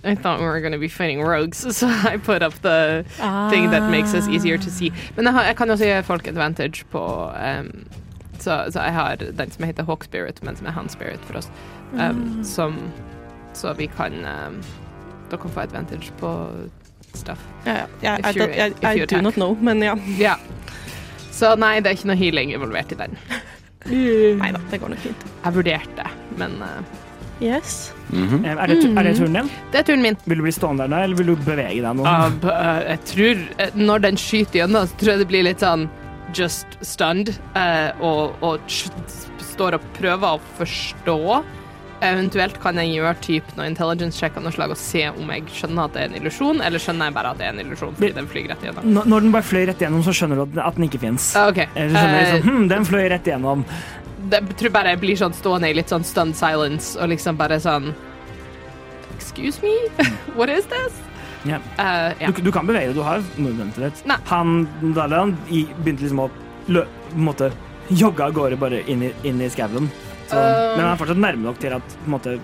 B: I thought we were going to be fighting rogues, so I put up the thing that makes us easier to see. Men jeg, har, jeg kan også gi folk advantage på um, så, så jeg har den som heter Hawk Spirit, men som er Hand Spirit for oss. Um, Som Så vi kan um, Dere kan få advantage på stuff.
D: Ja, ja.
B: If
D: Jeg,
B: you-
D: jeg, jeg, I
B: if you
D: Mm. do
B: attack.
D: not know, men ja.
B: Ja. Så nei, det er ikke noe healing involvert i den.
D: Nei da, det går nok fint.
B: Jeg vurderte, men uh,
D: Yes.
G: Mhm.
C: Em, Eh, Er det, tu- er det turen din?
B: det er turen min.
C: Vil du bli stående der, nå, eller vil du bevege deg nå?
B: Uh, b- uh, jeg tror eh, Når den skyter gjennom, så tror jeg det blir litt sånn just stunned. eh, og og sh- står og prøver å forstå. Eventuelt kan jeg gjøre typ noe intelligence check av noe slag og se om jeg skjønner at det er en illusjon, eller skjønner jeg bare at det er en illusjon fordi den flyr rett gjennom.
C: Når, når den bare fløy rett gjennom, så skjønner du at den, at den ikke fins.
B: Ah, OK.
C: Eller skjønner du
B: Eh,
C: liksom, hm, den fløy rett gjennom.
B: det, jeg tror bare jeg blir sånn stående i litt sånn stunned silence og liksom bare sånn Excuse me? What is this?
C: Ja.
B: Eh, ja.
C: Du, du kan bevege deg, du har movement rett.
B: Nei.
C: Han Dalian i- begynte liksom å lø, på en måte, jogge av gårde bare inn i, inn i skauen. Så-
B: Um.
C: Men han er fortsatt nærme nok til at på en måte,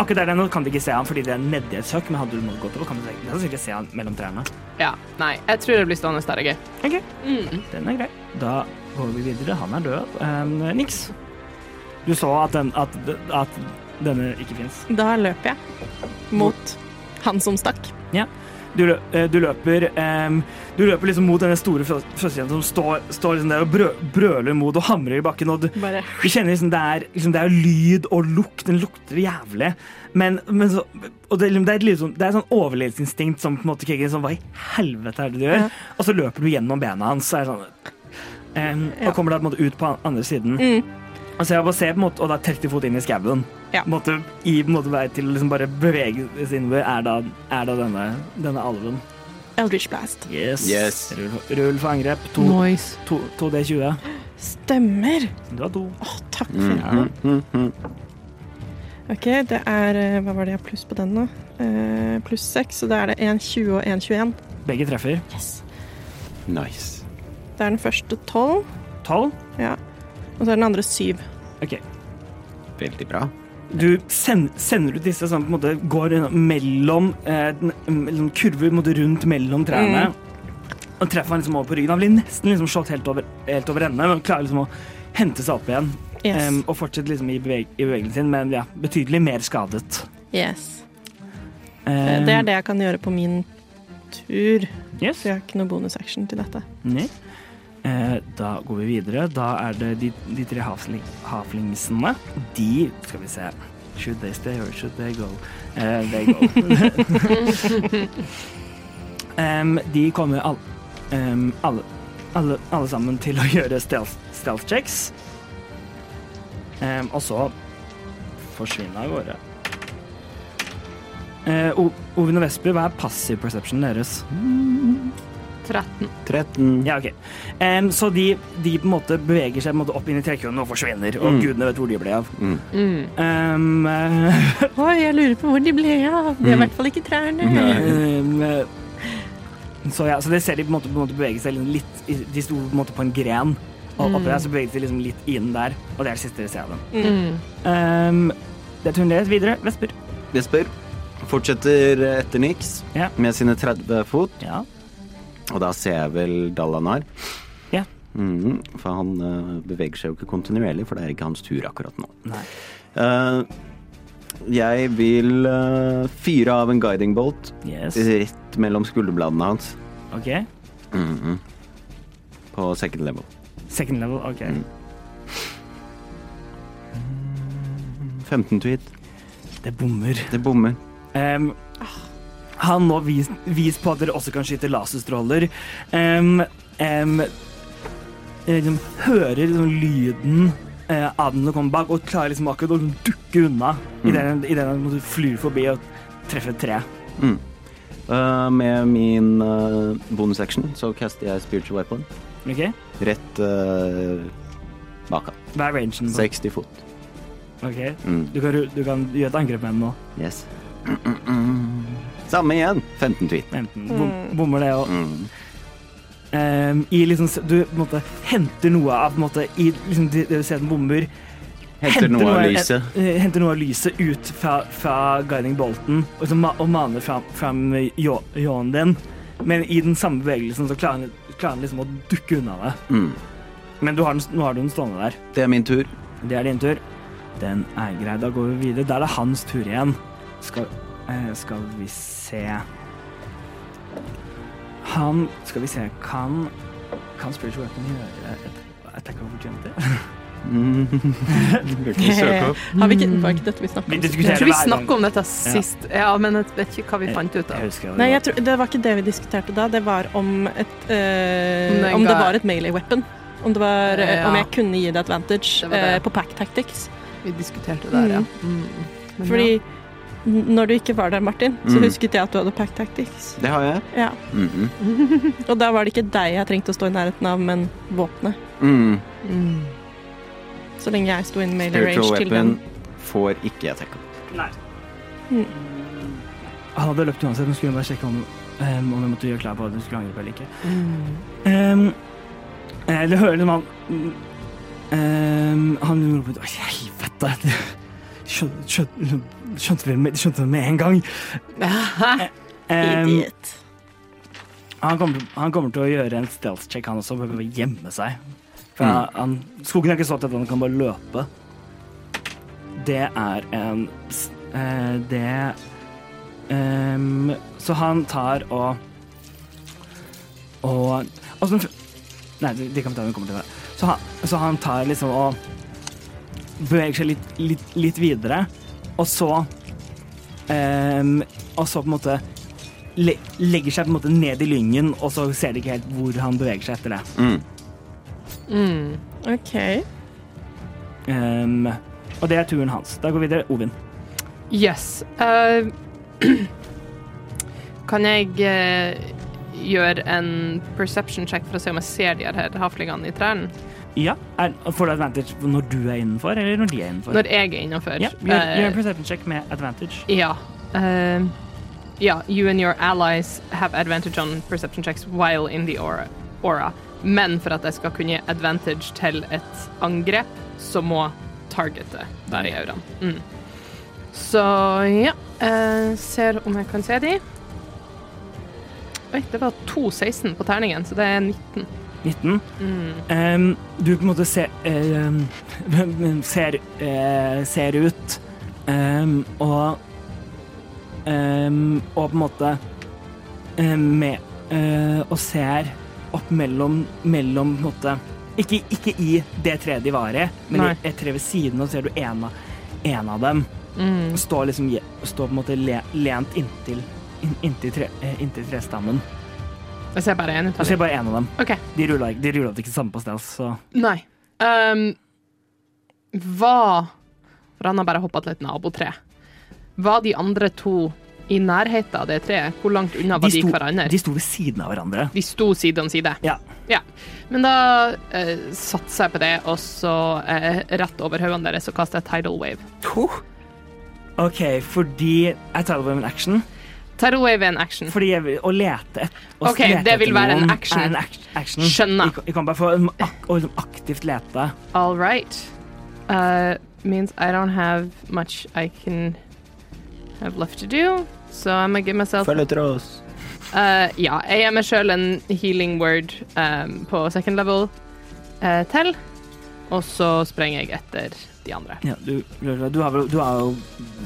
C: Akkurat der nå kan du ikke se han fordi det er nedi et søkk, men hadde du nå gått over, kan du sikkert- kan du sikkert se han mellom trærne.
B: ja. Nei, jeg tror jeg blir stående der, jeg.
D: Mm.
C: Den er grei. Da går vi videre. Han er død. Um, niks. Du så at, den, at, at denne ikke fins.
D: Da løper jeg mot han som stakk.
C: Du, lø- eh, du løper em, Du løper liksom mot denne store fø- fødselsjenta som står, står liksom der og brø, brøler mot og hamrer i bakken. Og du,
D: Bare
C: du kjenner liksom det er, liksom det er lyd og lukt. Den lukter jævlig. Men, men så, og det, er liksom- det, er et liksom, det er et sånn overlevelsesinstinkt som på en måte kicker inn. Sånn, Hva i helvete er det du gjør?
D: Ja.
C: Og så løper du gjennom bena hans. Så er det sånn, em,
D: Ja.
C: Og kommer da på en måte ut på andre siden.
D: Mm.
C: Og så Altså, jeg bare ser på en måte, og da 30 fot inn i skauen.
D: Ja.
C: På en måte, I på en måte vei til å liksom bare bevege seg innover er da, er da denne, denne alven.
D: Eldridge Blast.
C: Yes.
G: Yes.
C: Rull, rull for angrep. To-
B: Nice.
C: to- 2D20.
D: Stemmer!
C: Du har to.
D: Å, takk for det.
G: Mhm, mhm, mhm.
D: Ok, det er eh, Hva var det jeg har pluss på den nå? Eh, pluss seks, så da er det 1,20 og 1,21.
C: Begge treffer.
D: Yes.
G: Nice.
D: Det er den første tolv,
C: Tolv.
D: og så er den andre syv.
C: Ok.
G: Veldig bra.
C: Du send, sender ut disse sånn på en måte går unna- mellom eh, den- mellom kurver på en måte, rundt mellom trærne.
D: Mm.
C: Og treffer han liksom over på ryggen. Han blir nesten liksom slått helt over, helt over ende, men klarer liksom å hente seg opp igjen.
D: Yes.
C: Em, og fortsetter liksom i, beveg i bevegelsen sin, men ja, betydelig mer skadet.
D: yes. Eh, Det er det jeg kan gjøre på min tur.
C: Yes.
D: For jeg har ikke noe bonusaction til dette.
C: Nei. Eh, da går vi videre. Da er det de, de tre havsling, havlingsene. De Skal vi se. Should they stay or should they go? Eh, they go. Em, de kommer all, em, alle, alle, alle sammen til å gjøre stealth, stealth checks. Em, og så forsvinne av gårde. Eh, O- Ovin og Vesper, hva er passive perception deres?
B: 13.
G: 13.
C: Ja, ok. Em, så de, de på en måte beveger seg på en måte opp inn i trekronen og forsvinner, og
G: Mm.
C: gudene vet hvor de ble av.
G: Mm.
B: Mm.
C: Em, eh,
D: Oi, jeg lurer på hvor de ble av. De er i
G: Mm.
D: hvert fall ikke trærne.
C: em, eh, så ja, så det ser de på en måte, på en måte bevege seg liksom litt i- De sto på en måte på en gren, og oppi der så beveget de liksom litt inn der, og det er det siste vi ser av dem.
B: Mm.
C: Em, det er turen deres videre. Vesper.
G: Jesper fortsetter etter Nix
C: Ja.
G: med sine 30 fot.
C: Ja.
G: Og da ser jeg vel Dalanar.
C: Ja.
G: Mhm, for han eh, beveger seg jo ikke kontinuerlig, for det er ikke hans tur akkurat nå.
C: Nei.
G: Eh, jeg vil eh, fyre av en guiding bolt
C: Yes.
G: rett mellom skulderbladene hans.
C: OK.
G: Mhm. På second level.
C: Second level. OK.
G: Mm. 15 to hit.
C: Det bommer.
G: Det bommer.
C: Ehm, han nå vis, vis på at dere også kan skyte laserstråler. Ehm, ehm, eh, liksom, hører liksom, lyden eh, av den som kommer bak, og klarer liksom akkurat å dukke unna i
G: Mm.
C: det den- i det den måtte flyr forbi og treffer et tre.
G: Mm. Eh, med min eh, bonus action så caster jeg spiritual weapon
C: Ok?
G: rett eh, bak han.
C: Hva er rangen? på-
G: 60 fot.
C: Ok.
G: Mm.
C: Du, kan, ru- du kan gjøre et angrep med den nå.
G: Yes. Samme igjen. 15 tweet.
C: Enten bom, bommer det og
G: Mm.
C: ehm, i liksom, s- Du på en måte, henter noe av på en måte, i liksom, det det du ser den bomber,
G: Henter noe av lyset.
C: eh, henter noe av lyset ut fra, fra guiding bolten og, så ma og maner fram, fram ljå- ljåen din. Men i den samme bevegelsen så klarer han, klarer han liksom å dukke unna det.
G: Mm.
C: Men du har den, nå har du den stående der.
G: Det er min tur.
C: Det er din tur. Den er grei. Da går vi videre. Da er det hans tur igjen. Skal, eh, skal vi se Han Skal vi se Kan, kan Spiritual Weapon gjøre et attack of opportunity?
G: Mm.
D: Har vi ikke Det var ikke dette vi snakket
C: Vi
D: om?
C: diskuterer
B: Jeg tror vi
C: hver gang.
B: snakka om dette sist, ja, men jeg vet ikke hva vi fant ut
C: Jeg
B: av.
C: husker hva det
D: Nei,
C: var.
D: jeg tror, det var ikke det vi diskuterte da. Det var om et eh,
B: Om det
D: Om
B: ga-
D: det var et melee weapon. Om, det var, eh,
B: Ja.
D: om jeg kunne gi det advantage
B: Det var det.
D: eh, på pack tactics.
B: Vi diskuterte det der, ja. Mm. Men
D: Fordi n- når du ikke var der, Martin, så
G: Mm.
D: husket jeg at du hadde pack tactics.
G: Det har jeg.
D: Ja.
G: Mhm.
D: Og da var det ikke deg jeg trengte å stå i nærheten av, men våpenet.
G: Mm.
B: ja. Mm.
D: Så lenge jeg sto in melee range
G: Spiritual
D: til den.
G: weapon får ikke jeg tackle.
C: Han hadde løpt uansett, men skulle bare sjekke om, um, om jeg måtte gjøre klær på at hun skulle angripe eller ikke.
B: Mm.
C: Um, eh, det hører liksom han um, Han roper ut Å, helvete! det- Skjøn, skjøn, skjønte vi med, skjønte det med en gang. Um,
D: Idiot.
C: han, kommer, han kommer til å gjøre en stealth check, han også, prøve å gjemme seg. For han, han, skogen er ikke så tett at han kan bare løpe. Det er en s- eh, Det Ehm, så han tar og Og og så- Nei, det det kan vi ta når vi kommer til det. Så han, så han tar liksom og beveger seg litt, litt, litt videre, og så ehm, Og så på en måte le, legger seg på en måte ned i lyngen, og så ser de ikke helt hvor han beveger seg etter det.
B: Mm.
D: OK.
C: Ehm, og det er turen hans. Da går vi videre. Ovin.
B: Yes. Eh, kan jeg eh, gjøre en perception check for å se om jeg ser de her haflingene i trærne?
C: Ja, er, Får du advantage når du er innenfor, eller når de er innenfor?
B: Når Eh, jeg er innafor?
C: ja, gjør, gjør en perception check med advantage.
B: Ja. eh, ja, you and your allies have advantage on perception checks while in the aura. aura. Men for at jeg skal kunne gi advantage til et angrep, så må targetet være i auraen. Mm. Så ja, eh, ser om jeg kan se de. Oi, det var 2,16 på terningen, så det er 19.
C: 19. Ehm, du på en måte ser ehm, ser, eh, ser ut ehm, og ehm, og på en måte eh, med eh, og ser opp mellom mellom på en måte ikke, ikke i det treet de var i, men
B: Nei.
C: i et tre ved siden, og så ser du en av, en av dem
B: Mm.
C: står liksom je- står på en måte le, lent inntil inn- inntil, tre, eh, inntil trestammen.
B: Jeg ser bare én
C: Du
B: ut av
C: ser
B: dem.
C: bare én av dem.
B: OK.
C: De rulla ikke, de rullet ikke samme på stels, så
B: Nei. Ehm, hva For han har bare hoppa til et nabotre. Var de andre to i nærheten av det treet? Hvor langt unna var de, hverandre?
C: de sto ved siden av hverandre.
B: De sto side om side.
C: Ja.
B: Men da eh, satser jeg på det, og så eh, rett over hodene deres og kaster jeg tidal wave.
C: OK, fordi Jeg tar det med en action.
B: Tidal wave er en action.
C: Fordi jeg vil, å lete et, å
B: Ok,
C: lete
B: det vil
C: etter
B: være en
C: noen
B: action.
C: Er en act- action.
B: Skjønner.
C: Vi kan- Vi kan bare få en ak og liksom aktivt lete.
B: All right. Uh, means I don't have much I can have left to do, so I'm gonna give myself
G: Følg etter oss.
B: Eh, ja, jeg gir meg sjøl en healing word ehm, på second level eh, til. Og så sprenger jeg etter de andre.
C: Ja, du, du, har vel, du har jo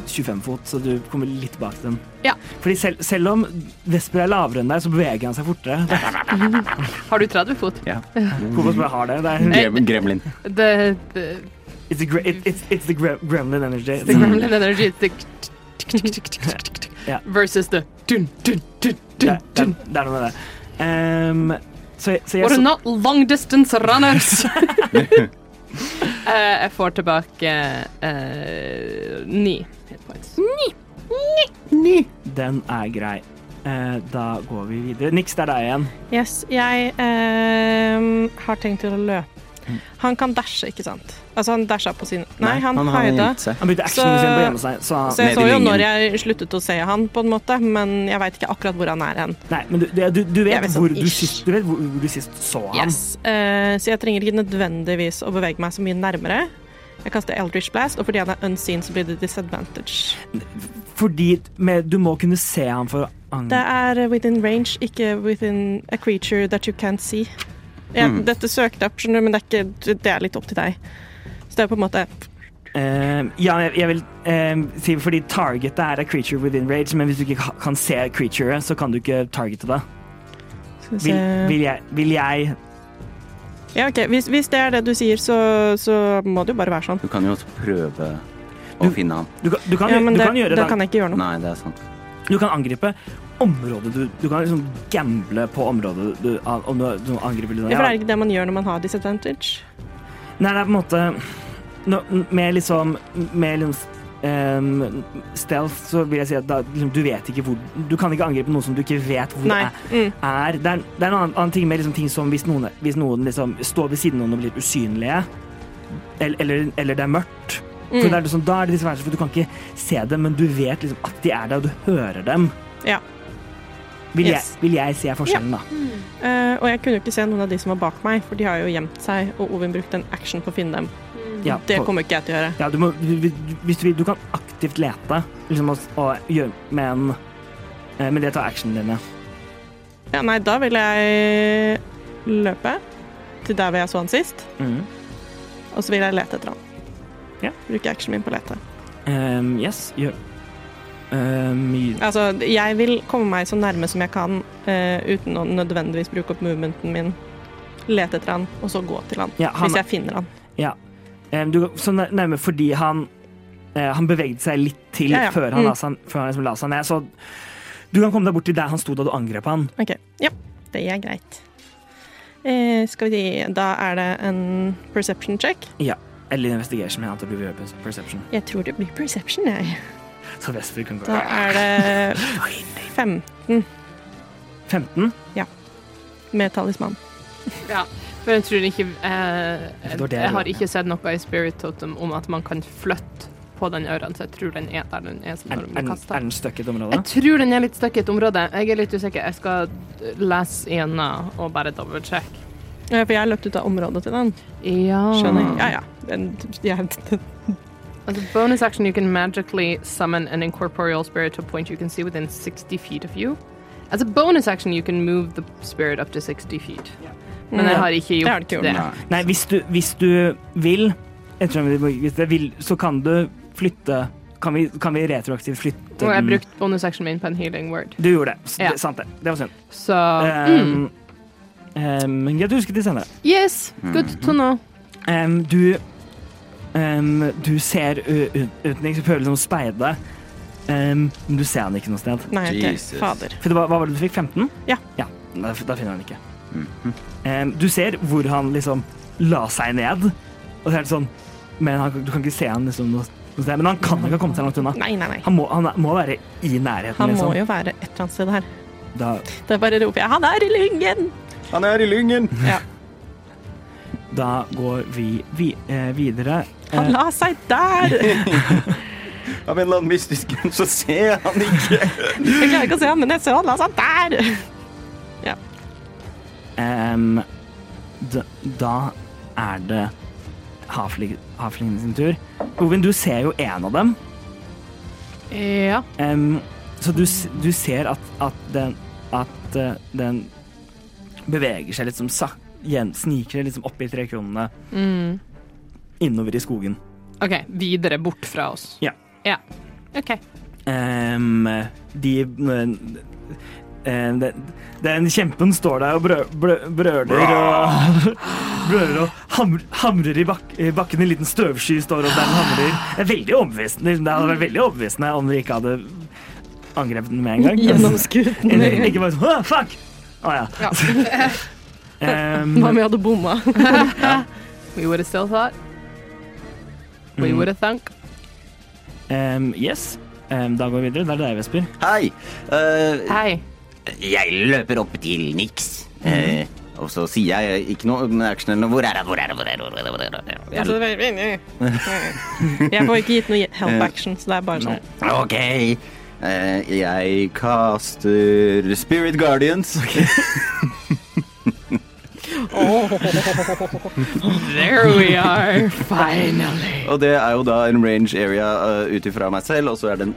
C: 25 fot, så du kommer litt tilbake til den.
B: Ja.
C: Fordi selv, selv om Vesper er lavere enn deg, så beveger han seg fortere.
B: Har du 30 fot?
G: Ja.
C: Hvorfor bare har det? det
B: Eh.
C: er,
G: Grem, gremlin.
B: The, the,
C: it's, the, gre- it- it's, it's the gre- gremlin energy.
B: the gremlin energy the
C: Ja.
B: versus the dun, dun, dun,
C: Det, det,
B: dun, dun.
C: det er noe med det. Ehm, så, jeg- så jeg
B: We're not long distance runners. Eh, jeg får tilbake eh, ni hit points.
C: Mm. Den er grei. Eh, da går vi videre. Nix, det er deg igjen.
D: Yes, jeg ehm, har tenkt til å løpe.
G: Mm.
D: Han kan dashe, ikke sant? Altså, han dasha på sin Nei, han
G: har
D: haida.
G: gjemt seg.
C: Han begynte actionen
D: Så-
C: sin på å gjemme seg. Så,
D: Så
G: Ned
D: jeg
G: i
D: så jo
G: lyngen.
D: når jeg sluttet å se han, på en måte, men jeg veit ikke akkurat hvor han er hen.
C: nei, men du, du, du,
D: Jeg
C: vet
D: vet
C: hvor
D: sånn,
C: du,
D: ish.
C: sist, du vet hvor du sist så ham.
D: Yes. Eh, så jeg trenger ikke nødvendigvis å bevege meg så mye nærmere. Jeg kaster Eldridge Blast, og fordi han er unseen, så blir det disadvantage.
C: Fordi med, du må kunne se ham for å
D: Det
G: Mm.
C: angre.
D: er within range, ikke within a creature that you can't see. Jeg,
G: Mm.
D: Dette søkte jeg opp, skjønner du, men det er, ikke, det er litt opp til deg. Så det er på en måte
C: Ehm, ja, jeg, jeg vil ehm, si fordi targetet er a creature within rage, men hvis du ikke ka- kan se creaturet, så kan du ikke targete det.
D: skal vi
C: Vil,
D: se.
C: vil jeg, vil jeg
D: Ja, ok. Hvis, hvis det er det du sier, så, så må det jo bare være sånn.
G: Du kan jo også prøve å
C: Du-
G: finne han.
C: Du kan, du kan,
D: Ja, men
C: du
D: det,
C: kan gjøre
D: det
C: det.
D: kan jeg ikke gjøre noe.
G: Nei, det er sant.
C: Du kan angripe området du Du kan liksom gamble på området du, om du, du angriper. litt sånn.
D: For det
C: Ja,
D: er ikke det man gjør når man har disadvantage.
C: Nei, det er på en måte nå- Med liksom Med liksom ehm, stealth så vil jeg si at da, liksom, du vet ikke hvor Du kan ikke angripe noen som du ikke vet hvor
D: Nei.
C: er.
D: Mm.
C: er. Det er, det er en annen, annen ting med liksom, ting som hvis noen, hvis noen liksom, står ved siden av noen og blir usynlige, eller, eller, eller det er mørkt.
D: Mm.
C: For det er liksom, da er det disadvantage, for du kan ikke se dem, men du vet liksom, at de er der, og du hører dem.
D: Ja.
C: Vil,
D: Yes.
C: jeg, vil jeg se forskjellen, da?
D: Eh, og jeg kunne jo ikke se noen av de som var bak meg, for de har jo gjemt seg, og Ovin brukte en action på å finne dem.
C: Ja,
D: Det
C: på-
D: kommer ikke jeg til å gjøre.
C: Ja, du må, du- du- hvis du vil, du kan aktivt lete, liksom, og, og gjøre, men, eh, men det tar actionen din, ja.
D: Ja, nei, da vil jeg løpe til der hvor jeg så han sist, og så vil jeg lete etter han.
C: Ja.
D: Bruke actionen min på å lete.
C: Ehm, yes, gjør. eh, mye
D: Altså, jeg vil komme meg så nærme som jeg kan eh, uten å nødvendigvis bruke opp movementen min. Lete etter han, og så gå til han.
C: Ja, han-
D: Hvis jeg finner han.
C: Ja. Eh, Du, så nær- nærmere fordi han eh, Han beveget seg litt til
D: Ja, ja.
C: før han,
D: Mm.
C: la seg, før han liksom la seg ned. Så du kan komme deg bort til der han sto da du angrep han.
D: Ok, ja, det er greit. Eh, skal vi si, da er det en perception check.
C: Ja. Eller investigation, men jeg antar det blir ved perception.
D: Jeg tror det blir perception, jeg.
C: Så Vesper kunne gå
D: Da er det 15
C: 15?
D: med talisman.
B: Ja, for jeg tror ikke eh,
C: det var det jeg
B: Jeg har
C: lurte.
B: ikke sett noe i Spirit Totem om at man kan flytte på den øren, så jeg tror den er der den er som
C: Er,
B: når
C: er,
B: den
C: den-
B: blir
C: er
B: kastet.
C: den stuck i et område?
B: Jeg tror den er litt stuck i et område. Jeg er litt usikker. Jeg skal lese igjennom og bare dobbeltsjekke.
D: Ja, for jeg har løpt ut av området til den.
B: Ja.
D: Skjønner. Ja, ja. Den, jeg-
B: As a bonus action, you can magically summon an incorporeal spirit to a point you can see within 60 feet of you. As a bonus action, you can move the spirit up to 60 feet. Men jeg har ikke
D: har du ikke
B: gjort det.
D: gjort.
C: Nei, hvis du, hvis du vil, jeg tror vi må- hvis du vil, så kan du flytte Kan vi, kan vi retroaktivt flytte
B: Og jeg
C: den-
B: brukte bonus actionen min på en healing word.
C: Du gjorde det. S-
B: Ja.
C: det sant det. Det var synd.
B: Så mm.
C: Um, um, ja, du husket det senere.
B: Yes, good to know.
C: Em, du em, Du ser u- u- utenriks, du prøver liksom å speide, em, men du ser han ikke noe sted.
D: Nei, ok.
A: Jesus.
D: Fader.
C: For det var, hva var det du fikk? 15?
D: Ja.
C: da, da finner han ikke. Em, du ser hvor han liksom la seg ned, og så er det sånn Men han, du kan ikke se han liksom noe noe sted. Men han kan ikke ha kommet seg langt unna.
D: Nei, nei, nei.
C: Han må, han må være i nærheten,
D: Han må
C: liksom.
D: jo være et eller annet sted her.
C: Da,
D: Det er bare å rope 'han er i lyngen'!
A: Han er i lyngen!
D: Ja.
C: da går vi, vi eh, videre.
D: Han la seg der!
A: Av en eller annen mystisk grunn så ser jeg han ikke.
D: Jeg klarer ikke å se han, men jeg så han la seg der!
C: Ehm, da, da er det Hafling Hafling sin tur. Ovin, du ser jo en av dem.
B: Ja.
C: Ehm, så du, s- du ser at, at den At eh, den beveger seg litt som sak... gjen- Sniker seg liksom opp i trekronene
B: Mm.
C: innover i skogen.
B: OK, videre bort fra oss.
C: Ja.
B: Ja. OK.
C: Ehm, de eh, den, den kjempen står der og brø, brø, brøler og brøler og hamr, hamrer i, bak, i bakken. En liten støvsky står opp der den hamrer. Det er veldig overbevisende. liksom. Det hadde vært veldig overbevisende om de ikke hadde angrepet den med en gang.
D: Gjennomskuet.
C: Eller ikke bare sånn «Åh, Fuck! Å ja. Ehm,
D: Hva om jeg hadde bomma?
B: We would have still thought. We would have thunk.
C: ehm, yes. Ehm, da går vi videre. Det er deg, Vesper.
H: Hei! Eh,
B: Hei.
H: jeg løper opp til Nix.
D: Mhm.
H: Eh, og så sier jeg ikke noe med action eller noe. Hvor er han? Hvor er han? Hvor er han? Hvor er han? Hvor er han? Hvor er
D: Altså,
H: han?
D: Jeg får ikke gitt noe help action, så det er bare sånn.
H: Ok. Eh, jeg kaster Spirit Guardians.
B: There we are. Finally.
H: Og det er jo da en range area uh, ut ifra meg selv, og så er den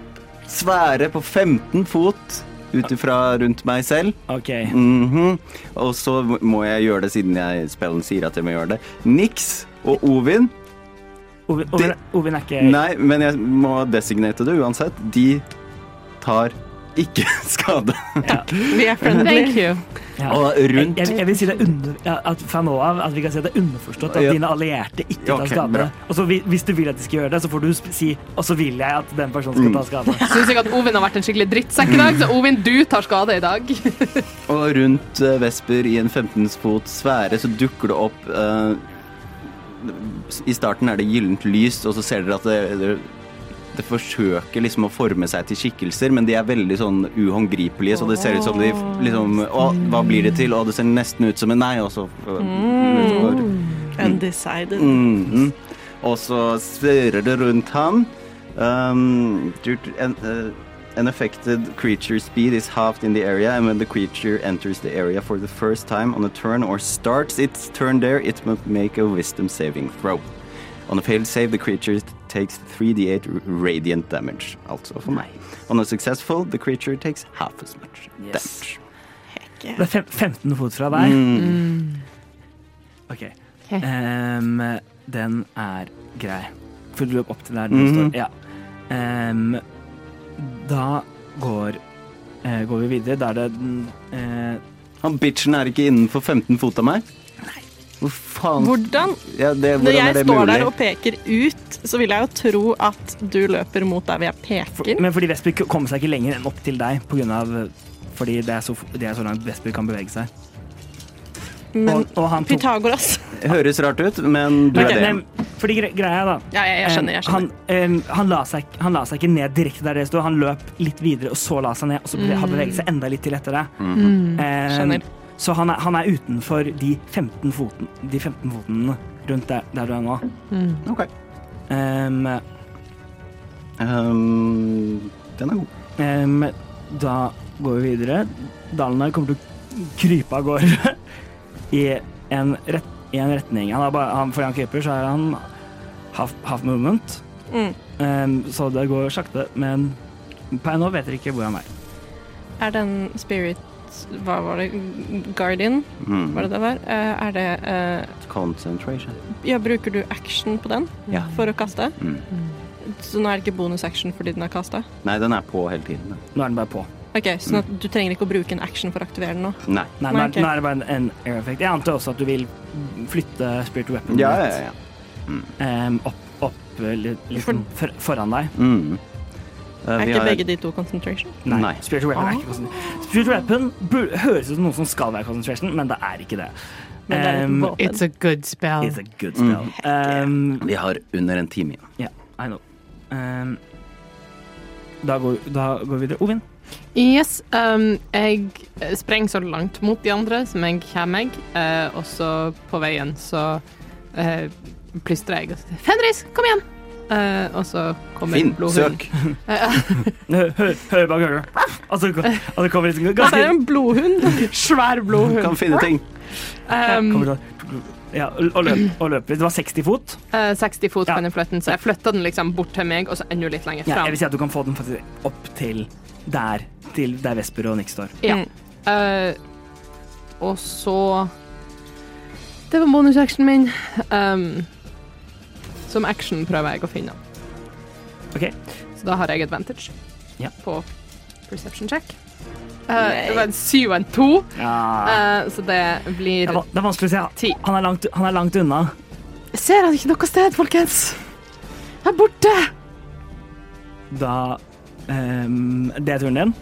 H: svære på 15 fot ut ifra rundt meg selv.
C: OK.
H: Mhm. Og så må jeg gjøre det siden jeg, spellen sier at jeg må gjøre det. Nix og Ovin
C: Ovin, Ovin, Ovin er ikke
H: Nei, men jeg må designate det uansett. De tar ikke skade.
D: Vi er
B: Thank
D: friendly.
B: you.
C: Ja.
H: Og rundt
C: Jeg, jeg vil si det er under, ja, at fra nå av at vi kan si at det er underforstått at
H: Ja.
C: dine allierte ikke tar
H: Ok,
C: skade.
H: bra.
C: Og så vi- Hvis du vil at de skal gjøre det, så får du sp- si Og så vil jeg at den personen
H: Mm.
C: skal ta skade.
B: Syns ikke at Ovin har vært en skikkelig drittsekk i dag, så Ovin, du tar skade i dag.
H: Og rundt eh, Vesper i en 15 fot sfære så dukker det opp eh, I starten er det gyllent lys, og så ser dere at det, det, det forsøker liksom å forme seg til skikkelser, men de er veldig sånn uhåndgripelige, så det ser ut som de f- liksom Å, hva blir det til? Å, det ser nesten ut som en nei, altså, og så mm.
D: Undecided.
H: Mm. Og så svirrer det rundt ham. Um, due to- an, uh, an affected creature's speed is halved in the area, and when the creature enters the area for the first time on a turn or starts its turn there, it must make a wisdom saving throw. On a failed save, the creature takes 3d8 r- radiant damage, altså for meg. On a successful, the creature takes half as much
C: Yes.
H: damage.
C: Det er fem, 15 fot fra
H: Mm.
C: deg.
B: Mm.
C: OK.
B: Ok.
C: Ehm,
H: Mm.
C: den er grei. For du løp opp til der du står. Ja. Ehm, Da går, eh, går vi videre. Da er det den eh,
G: Han bitchen er ikke innenfor 15 fot av meg. Hvor faen
D: Hvordan?
G: ja, det,
D: Når
G: Hvordan
D: jeg
G: er det
D: står
G: mulig?
D: der og peker ut, så vil jeg jo tro at du løper mot der hvor jeg peker.
C: Men fordi Vesper k- kommer seg ikke lenger enn opp til deg på grunn av fordi det er så, f- det er så langt Vesper kan bevege seg.
D: Men
C: og, og han tok
D: Pythagoras
G: Høres rart ut, men du
C: Ok,
G: er det.
C: men- Fordi gre greia, da
D: Ja, jeg, jeg skjønner. jeg
C: eh,
D: skjønner.
C: Han, eh, han, la seg, han la seg ikke ned direkte der det sto. Han løp litt videre, og så la seg ned, og så beve- han beveget seg enda litt til etter det.
G: Mm.
C: Eh,
D: Mm. Skjønner.
C: så han er, han er utenfor de 15 foten, de 15 foten rundt der, der du er nå.
G: Ok.
C: Em,
G: Ehm, den er god.
C: em, da går vi videre. Dalen her kommer til å krype av gårde i en, ret, i en retning. Han er bare, han, fordi han kryper, så er han half, half movement.
D: Mm.
C: Em, så det går sakte, men per nå vet dere ikke hvor han er.
D: Er den spirit Hva var det? Guardian,
G: Mm.
D: var det det var? Eh, Er det eh,
G: Concentration.
D: Ja, bruker du action på den
G: Ja.
D: for å kaste?
G: Mm.
D: Så nå er det ikke bonusaction fordi den er kasta?
G: Nei, den er på hele tiden. den.
C: Nå er den bare på.
D: OK, så
G: Mm.
D: du trenger ikke å bruke en action for å aktivere den nå?
G: Nei.
C: Nei, nå, er,
D: Ok.
C: nå er det bare en, en air effect. Jeg antar også at du vil flytte spirit weapon
G: Ja, ja, ja.
C: em, opp, opp eh, litt, litt
D: For-
C: for, foran deg.
G: Mm. Eh,
D: Er
G: vi
D: ikke
G: har-
D: begge de to concentration?
C: Nei.
G: Nei.
C: Spiritual Weapon er
D: Ah.
C: ikke konsentration. Spiritual Weapon bur- høres ut som noe som skal være concentration, men det er ikke det.
D: Men det er et
C: Um,
D: våpen.
B: It's a good spell.
C: It's a good spell. Um,
G: Vi har under en time igjen.
C: yeah, I know. Um, da, går, da går vi videre. Ovin.
B: Yes, um, jeg eh, sprenger så langt mot de andre som jeg kommer meg, eh, og så på veien så eh, plystrer jeg og sier Fenris, kom igjen! Eh, og så kommer
G: Finn,
B: blodhunden.
G: søk!
C: Hø- hø- Hører bak øret. Og så går- og det kommer liksom
D: Altså, det er
C: ganske
D: en blodhund!
B: Svær
G: Kan
B: blodhund.
G: finne ting.
B: Um,
C: kommer sånn- ja, og løp, og løp. Det var 60 fot.
B: eh, 60 fot
C: Ja.
B: kan jeg flytte den, så jeg flytta den liksom bort til meg, og så enda litt lenger
C: Ja,
B: fram.
C: jeg vil si at du kan få den faktisk opp til der, til der Vesper og Nick står.
B: Ja.
D: Mm.
B: Eh, og så Det var bonusactionen min. Um, som action prøver jeg å finne den.
C: Ok.
B: Så da har jeg advantage
C: Ja.
B: på perception check. Eh, det var en syv og en to,
C: Ja.
B: eh, så det blir
C: Ah. Det er, van- det er vanskelig å si.
B: Ti.
C: Han er langt, han er langt unna.
B: Jeg ser han ikke noe sted, folkens! Jeg er borte!
C: Da ehm, Det er turen din?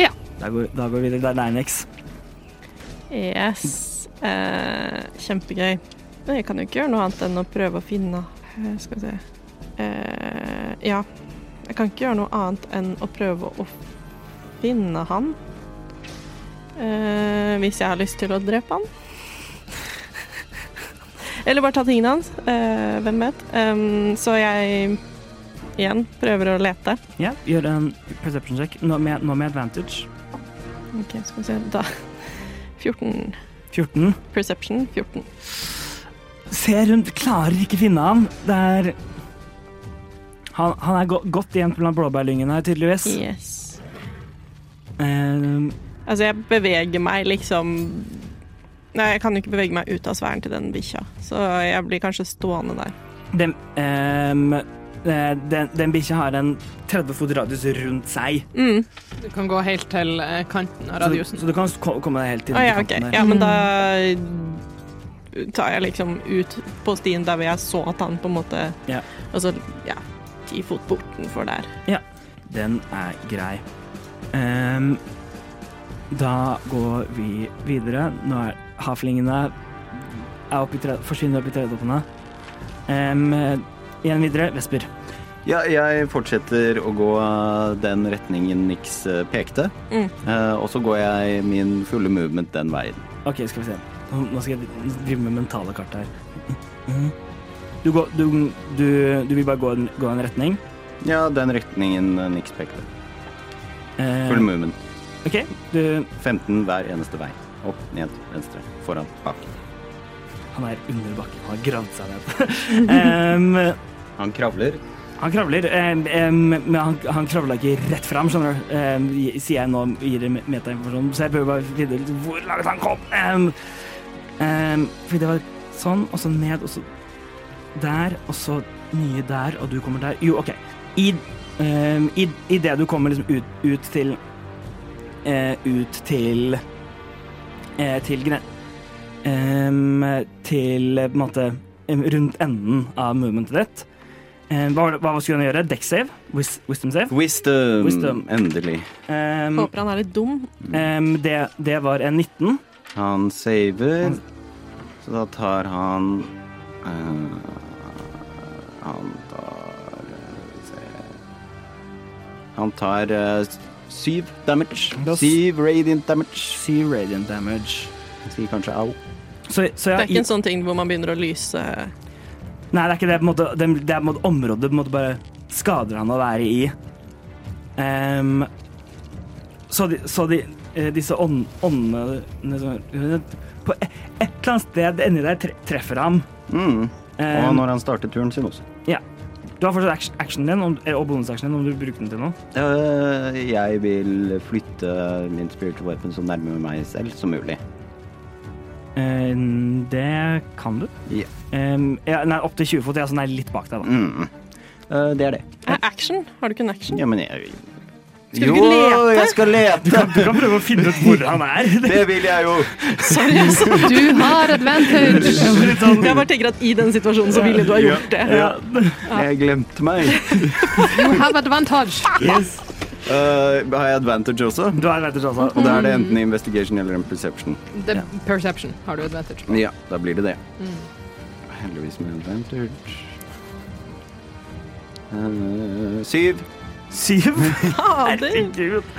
B: Ja.
C: Da går, da går vi videre. Det er Ninex.
D: Yes. Eh, kjempegøy. Men jeg kan jo ikke gjøre noe annet enn å prøve å finne eh, Skal vi se eh, Ja. Jeg kan ikke gjøre noe annet enn å prøve å finne han. Eh, hvis jeg har lyst til å drepe han. Eller bare ta tingene hans. Eh, hvem vet. Em, så jeg igjen prøver å lete.
C: Ja, gjør en perception check. Nå med, nå med advantage.
D: OK, skal vi se Da 14.
C: 14.
D: Perception 14.
C: Ser rundt, klarer ikke finne han. Det er Han, han er go godt igjen blant blåbærlyngene her, tydeligvis.
D: Yes.
C: Ehm,
D: Altså, jeg beveger meg liksom Nei, jeg kan jo ikke bevege meg ut av sfæren til den bikkja, så jeg blir kanskje stående der.
C: den ehm, eh, den, den bikkja har en 30 fot radius rundt seg.
D: Mm.
B: Du kan gå helt til eh, kanten av
C: Så, du-
B: radiusen.
C: så du kan s- ko- komme deg helt inn
D: Å, ja,
C: til
D: ok.
C: kanten der.
D: ja, men da tar jeg liksom ut på stien der hvor jeg så at han på en måte
C: Ja.
D: Og så, ja, ti fot bortenfor der.
C: Den er grei. Ehm, da går vi videre. Nå er havflingene er oppe i tre, forsvinner opp i tredetoppene. Um, igjen videre. Vesper.
G: Ja, jeg fortsetter å gå den retningen Nix eh, pekte.
D: Mm.
G: Eh, og så går jeg min fulle movement den veien.
C: OK, skal vi se. Nå nå skal jeg drive med mentale kart her. Du, går, du, du, du vil bare gå en, gå en retning?
G: Ja, den retningen eh, Nix pekte.
C: Ehm,
G: Full movement.
C: OK. Du,
G: 15 hver eneste vei. Opp, ned, venstre, foran, bak.
C: han er under bakken. Han har gravd seg ned. Ehm,
G: Han kravler.
C: Han kravler, em, em, men han, han kravla ikke rett fram, skjønner du. Em, gi- sier jeg nå, gir dere metainformasjon, så jeg prøver bare å finne ut hvor langt han kom. Em, em, Ehm, fordi det var sånn, og så ned, og så der, og så nye der, og du kommer der. Jo, OK. I Um, i, i det du kommer liksom ut, ut til eh, Ut til eh, Til gre... Um, til eh, på en måte em, rundt enden av movementet ditt. Eh, hva, var det- hva skulle han gjøre? Deck save? Wis, wisdom save?
H: Wisdom.
C: Wisdom.
H: Endelig.
C: Um,
D: Håper han er litt dum.
C: um, det, det var en 19.
H: Han saver, så da tar han eh, Han tar eh, skal vi se. Han tar eh, s- syv damage.
C: Da s-
H: Syv radiant damage.
C: Syv radiant damage.
H: Jeg Sier kanskje au.
C: Så, så
D: Det
C: ja,
D: er ikke
C: i-
D: en sånn ting hvor man begynner å lyse
C: Nei, det er ikke det. På en måte, det, det er på en måte området det på en måte bare skader han å være i. Ehm, så de, så de, eh, disse ånd- åndene liksom, På et, et eller annet sted inni der tre- treffer ham.
H: Mm. Og
C: Ehm,
H: når han starter turen sin også.
C: ja. Du har fortsatt action- actionen din om, eh, og bonusaksjonen din om du bruker den til noe.
H: Eh, jeg vil flytte min spiritual weapon så nærme meg selv som mulig.
C: Ehm, det kan du.
H: Ja.
C: Ehm, ja, nei, opp til 20 fot. Ja, så den er litt bak deg, da.
H: Mm. Eh, det er det.
D: Er action? Har du ikke en action?
H: Ja, men jeg
D: Skal du ikke lete?
H: jeg skal
C: Du
H: lete!
C: kan, du kan prøve å finne ut hvor han er.
H: Det vil jeg jo!
D: Sorry, altså.
B: Du har advantage!
C: Litt sånn,
D: Jeg bare tenker at i den situasjonen så ville du ha gjort det.
H: Ja. Jeg glemte meg.
B: You have advantage!
C: yes.
H: Eh, har jeg advantage også?
C: Du har advantage, altså.
H: Og da er det enten investigation eller en perception.
B: The perception har du advantage.
H: Ja, da blir det det. Heldigvis med advantage. Eh, syv.
C: Syv.
D: Fader.
C: Herregud.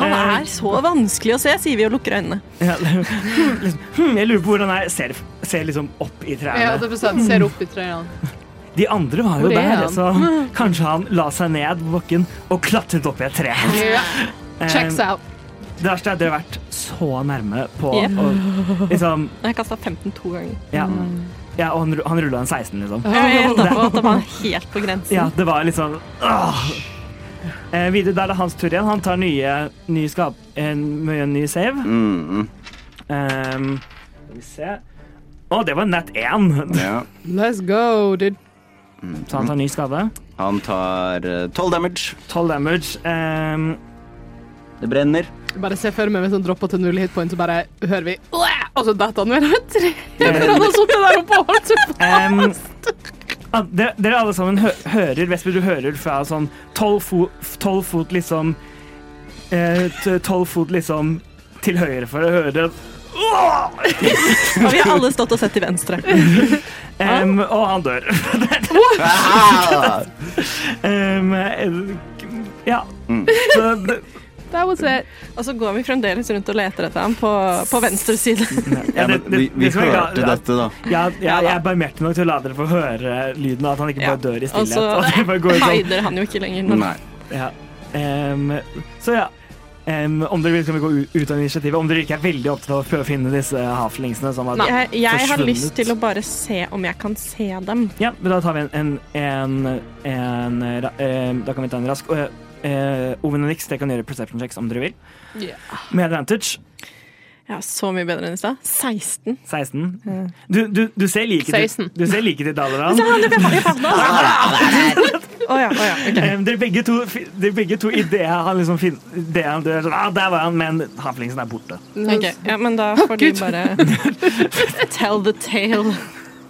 D: Han er så vanskelig å se, sier vi og lukker øynene.
C: Ja, liksom, hmm, jeg lurer på hvordan jeg ser, ser liksom opp i
B: Ja,
C: trærne.
B: det er sant. Ser opp i trærne.
C: De andre var jo
B: Hvor er
C: der,
B: han?
C: så kanskje han la seg ned på bakken og klatret opp i et tre.
B: Ja. Checks
C: Eh,
B: out.
C: Det verste er at dere har vært så nærme på
D: Yep.
C: og, liksom,
D: Jeg kasta 15 to ganger.
C: ja,
B: Mm.
C: ja, og han, ru- han rulla en 16, liksom.
D: Jeg gjettet på at det var helt på
C: Ja,
D: grensen.
C: det var liksom åh. Eh, videre, Da er det hans tur igjen. Han tar nye, nye skap... En, med en ny save.
H: Mm, mm,
C: Ehm, skal vi se Å, det var nett 1!
H: ja.
B: Um, Let's go, dude.
C: Så han tar ny skade.
H: Han tar eh, tolv damage.
C: 12 damage. ehm,
H: Det brenner.
B: Jeg Bare se for meg hvis han dropper til null hit point, så bare hører vi «Åh!» Og så detter han ned et tre. For han har sittet der oppe og holdt seg på.
C: ehm, ah, dere, dere alle sammen hø hører Vesper, du hører fra sånn 12 fot, 12 fot liksom eh, t- 12 fot liksom til høyre for å høre
D: Og vi har alle stått og sett til venstre.
C: ehm, Og han dør.
H: Ah!
C: Ehm, eh, ja.
D: Mm.
C: Så det-
B: That was it.
D: Og så går vi fremdeles rundt og leter etter ham på, på venstre side.
H: Ja,
C: ja,
H: men
C: det-
H: vi,
C: det-
H: vi
C: det som er
H: hørte
C: glad-
H: dette, da.
C: Ja, ja, jeg er barmhjertig nok til å la dere få høre lyden av at han ikke
D: Ja.
C: bare dør i
D: Og
C: stillhet.
D: så
C: at det bare går sånn
D: hider han jo ikke lenger. Nå.
H: Nei.
C: Ja. Ehm, så ja. Ehm, om dere vil, kan vi gå u- ut av initiativet. Om dere ikke er veldig opptatt av å prøve å finne disse haflingsene. Som at,
D: Jeg, jeg har
C: Forsvunnet.
D: lyst til å bare se om jeg kan se dem.
C: ja, men da tar vi en, en, en, en ra- ehm, Da kan vi ta en rask uh, Oven og Nix, dere kan gjøre perception checks om dere vil.
B: Ja.
C: Med advantage.
D: Ja, Så mye bedre enn i stad. 16.
C: 16. Du, du, du ser like til,
B: 16.
C: du ser like til Dalaran.
D: Å ja, å ja. ok.
C: Ehm, dere begge to, fi- dere begge to idet han liksom fin, det han dør, sånn, ah, der var han, men haflingsen er borte.
D: Ok, Ja, men da får de
B: Gud.
D: bare Tell the tale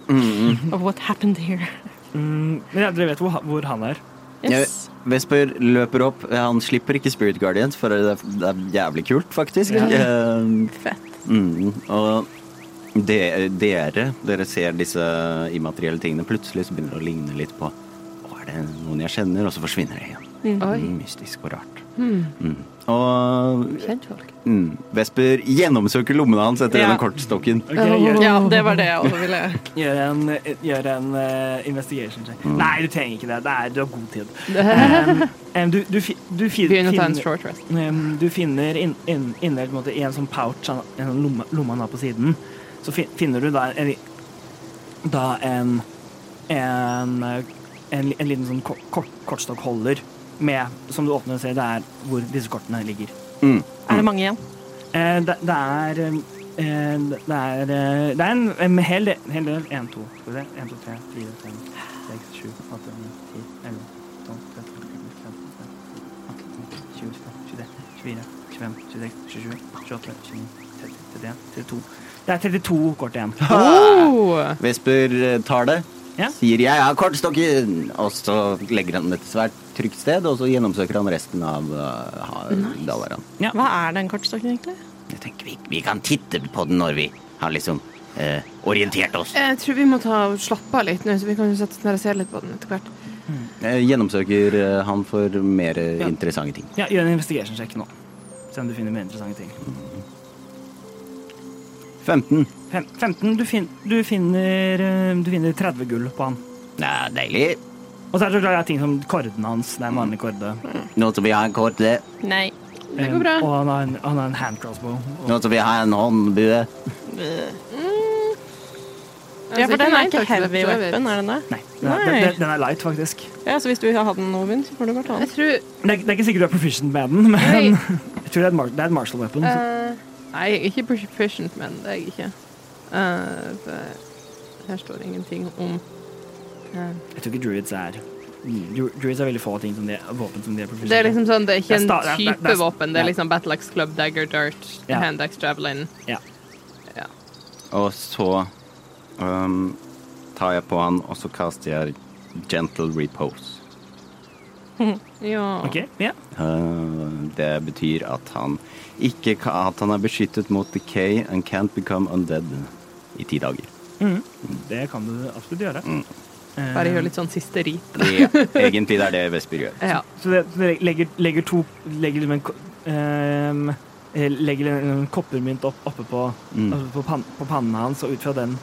C: Mm.
D: of what happened here.
C: Men ja, dere vet hvor, ha- hvor han er.
D: Yes.
H: Vesper løper opp. Han slipper ikke Spirit Guardians, for det er, det er jævlig kult, faktisk. Eh,
D: Fett.
H: Mm, og de, dere, dere ser disse immaterielle tingene. Plutselig så begynner det å ligne litt på Å, er det noen jeg kjenner? Og så forsvinner det igjen. Mm, mystisk og rart. Mm. Og
B: Kjentfolk.
H: mm, Vesper gjennomsøker lommene hans etter
D: Ja.
H: denne kortstokken.
C: Dere gjør-
D: Ja, det var det jeg også ville
C: Gjør en, gjør en eh, investigation check. Nei, du trenger ikke det. det er, du har god tid. Em, em, du, du, fi- du, fi-
B: Begynn å ta en
C: finner-
B: short rest.
C: em, du finner inn- inn- innhelt på en måte, i en sånn pouch, han- en sånn lomme, lomme han har på siden, så fi- finner du da en, da en, en, eh, en, en liten sånn kort, kort, kortstokkholder med, som du åpner og ser, det er hvor disse kortene ligger.
D: Er det mange igjen?
C: Eh, Det, det er eh, det er, eh, det er en, en hel del hel del. En, to, skal vi se. En, to, tre, fire, fem, seks, sju, åtte, ni, ti, elleve, tolv, tretten, fjorten, 24, 25, 26, 27, 28, 29, 30, 31, 32. Det er 32 kort igjen.
B: Oh.
H: Vesper eh, tar det.
C: Ja.
H: Sier 'jeg har kortstokken', og så legger han det til svært trygt sted, og så gjennomsøker han resten av eh, ha- Dalaran.
D: Hva er den kortstokken, egentlig?
A: Jeg tenker vi, vi kan titte på den når vi har liksom eh, orientert oss.
B: Jeg tror vi må ta og slappe av litt nå, så vi kan jo sette oss ned og se litt på den etter hvert.
H: Eh, Gjennomsøker eh, han for mer eh, interessante ting.
C: Ja, gjør en investigation check nå. Se om du finner mer interessante ting.
H: 15.
C: Fem, 15, du, fin, du, finner, eh, du finner 30 gull på han.
A: Ja, deilig.
C: Og så er det så klart det er ting som korden hans. Det er en vanlig korde.
A: Nå som vi har en kort eh, det.
D: Nei.
C: Det
B: går bra.
C: Og han har en, han har en hand crossbow. Og
A: Nå som vi har en håndbue.
D: Ja, for
B: Altså,
D: den
B: nei
D: er ikke
B: takk,
D: heavy
B: det er
D: weapon, er den det?
C: Nei, den er,
D: Nei.
C: den- Den, er light, faktisk.
D: Ja, så hvis du har den noven, så får du bare ta
B: Jeg
D: den.
B: tror eh.
C: Det er, det er ikke sikkert du er proficient med den, men
B: Nei,
C: jeg tror det er, et mar det er et martial weapon. så-
B: eh, Um, nei jeg er ikke proficient, men det er jeg ikke. Eh, for her står det ingenting om eh,
C: Jeg tror ikke druids er dru- Druids er veldig få ting som de er våpen som de er proficient
B: Det er liksom sånn, det er ikke
C: Det er
B: en
C: sta- det er- det er- det
B: type
C: er-
B: våpen. Det er
C: ja.
B: liksom battle axe, club, dagger, dart,
C: Ja.
B: hand axe, javelin.
H: Og så ehm, tar jeg på han, og så kaster jeg 'gentle repose'.
B: Ja.
C: med. Ok, ja.
H: Eh, det betyr at han ikke ka- at han er beskyttet mot decay and can't become undead i ti dager.
C: Det kan du absolutt gjøre.
H: Mm.
C: Eh,
B: Bare gjør litt sånn siste rit.
H: Ja, egentlig det er det Vesper gjør.
B: Ja.
C: Så det, så det legger, legger to Legger liksom en ko- ehm, eh, Legger en, en koppermynt opp, oppe på,
H: Mm.
C: oppe på, pan, på pannen hans, og ut fra den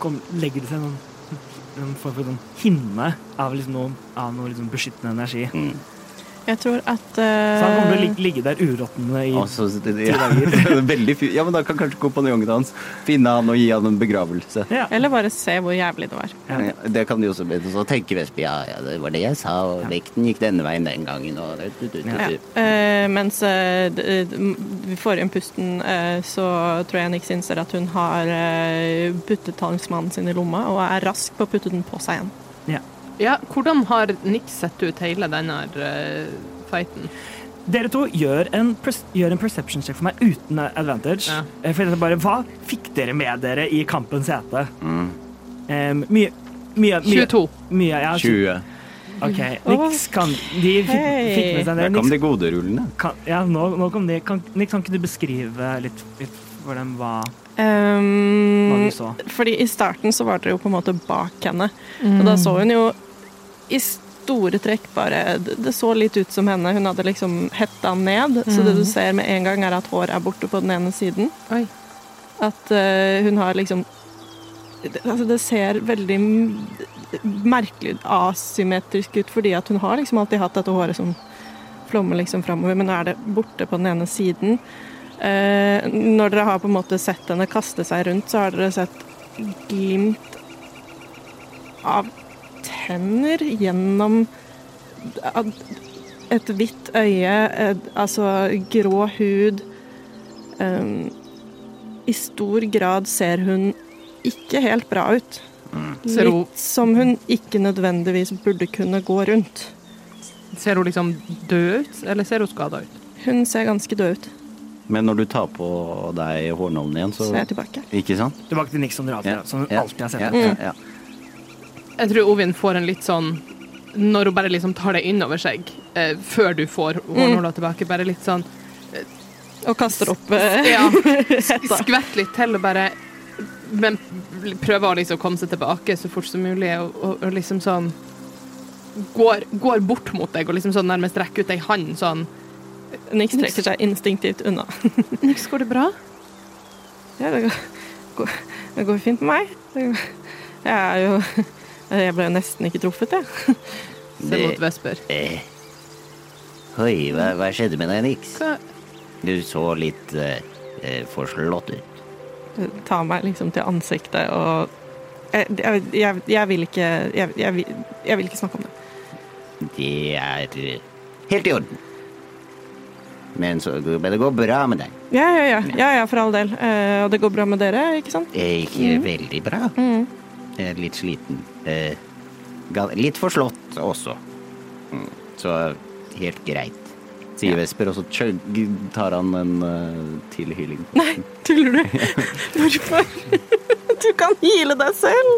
C: kom, legger det seg en, sånn- en form for sånn hinne av, liksom noe, av noe liksom beskyttende energi.
H: Mm.
D: Jeg tror at
C: Så han kommer til å
D: eh,
C: ligge, ligge der uråtnende i
H: Og så- ja, veldig fint. Ja, men da kan kanskje kompanjongen hans finne han og gi han en begravelse. Eh,
C: ja.
D: Eller bare se hvor jævlig det var.
C: Ja.
H: Ja, det kan de også bli.
A: Så tenker Vespe ja, ja, det var det jeg sa, og vekten gikk denne veien den gangen. Og det, du, du, du,
D: Ja.
A: du.
D: Eh, mens eh, d- d- m- forrige pusten eh, så tror jeg Nix innser at hun har eh, puttet talismanen sin i lomma, og er rask på å putte den på seg igjen.
B: ja, hvordan har Nix sett ut hele denne eh, fighten?
C: Dere to gjør en, pers- gjør en perception check for meg uten advantage.
B: Ja.
C: Eh, For jeg bare, hva fikk dere med dere i kampens hete?
H: Mm.
C: Em, mye, mye, mye
B: 22.
C: Mye, ja,
H: 20.
C: Ok, Nix kan De fikk, fikk med seg det.
H: Der kom
C: Nix
H: de gode rullene.
C: kan, ja, nå, nå kom de. Kan, Nix, kan ikke du beskrive litt, litt for dem hva, hva
D: Um,
C: du så?
D: fordi i starten så var dere jo på en måte bak henne, og da så hun jo i store trekk bare Det det så litt ut som henne. Hun hadde liksom hetta ned, så det du ser med en gang, er at hår er borte på den ene siden.
B: Oi.
D: At eh, hun har liksom det, altså det ser veldig m- merkelig asymmetrisk ut, fordi at hun har liksom alltid hatt dette håret som flommer liksom framover, men nå er det borte på den ene siden. Eh, når dere har på en måte sett henne kaste seg rundt, så har dere sett glimt av tenner gjennom av et hvitt øye, et, altså grå hud. Um, i stor grad ser hun ikke helt bra ut.
B: Mm. Ser hun-
D: Litt som hun ikke nødvendigvis burde kunne gå rundt.
B: Ser hun liksom død ut, eller ser hun skada ut?
D: Hun ser ganske død ut,
H: Men når du tar på deg hårnålen igjen, så
D: ser jeg tilbake.
H: Ikke sant?
C: Tilbake til Nix som dere alltid, som hun
H: Ja,
C: alltid har sett.
H: ja,
C: det.
H: ja, ja.
B: Jeg tror Ovin får en litt sånn Når hun bare liksom tar det innover seg, eh, før du får
C: Mm.
B: hårnåla tilbake, bare litt sånn
D: Og kaster opp eh,
B: Ja.
D: hetta.
B: skvett litt til og bare Men prøver å liksom komme seg tilbake så fort som mulig og, og, og liksom sånn går, går bort mot deg og liksom sånn nærmest rekker ut ei hand sånn
D: Nix trekker seg instinktivt unna.
B: Niks, går det bra?
D: Ja, det går- går, det går fint med meg. Det går- Jeg er jo Jeg ble jo nesten ikke truffet, jeg.
B: Se mot Vesper.
A: Eh. Oi, hva, hva skjedde med deg, Nix?
B: Hva?
A: Du så litt eh, eh, forslått ut.
D: Ta meg liksom til ansiktet og jeg, jeg, jeg, jeg vil ikke jeg, jeg, vil- jeg vil ikke snakke om det.
A: Det er eh, helt i orden. Men så men det går bra med deg.
D: Ja, ja, ja. ja, ja for all del. Eh, og det går bra med dere, ikke sant?
A: Eh, Ikke
D: Mm.
A: veldig bra. Jeg er litt sliten. Eh, ga- litt forslått også. Mm. Så helt greit.
H: sier Vesper, og så chug- tar han en eh, til healing.
D: Nei, tuller du? Hvorfor? Du kan hile deg selv!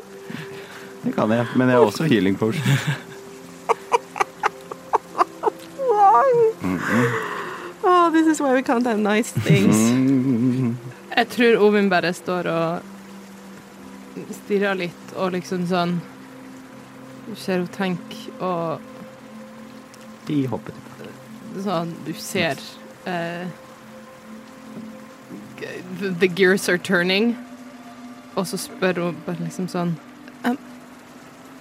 H: Det kan jeg, men jeg har også healing potion.
D: Oh, this is why we can't have nice things.
B: Jeg tror Ovin bare står og stirrer litt, og liksom sånn Du ser hun tenker, og
H: De hopper tilbake.
B: sånn Du ser eh, g- the- The gears are turning. Og så spør hun bare liksom sånn «Em,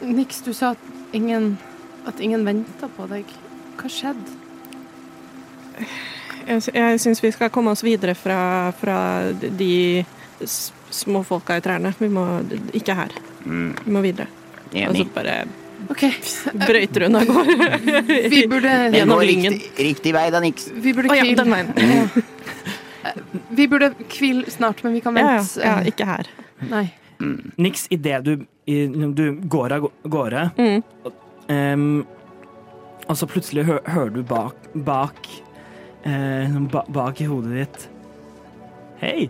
B: Nix, du sa at ingen At ingen venta på deg. Hva skjedde?
D: Jeg, sy- jeg syns vi skal komme oss videre fra, fra de s- små folka i trærne. Vi må ikke her. Vi må videre. Og så
A: Enig.
D: bare
B: OK,
D: brøyter hun av gårde.
B: vi burde
A: Det
D: gjennom
A: går
D: lyngen.
A: riktig, riktig vei, da, Nix.
B: Vi burde
D: Å ja,
B: hvile.
D: den veien.
B: Eh, Vi burde hvile snart, men vi kan
D: Ja, ja,
B: vente. eh,
D: ja, ikke her.
B: Nei.
C: Niks idet du, i- du går av gå- gårde,
D: Mm.
C: em, og så plutselig hø, hører du bak bak, eh, ba, bak i hodet ditt Hei,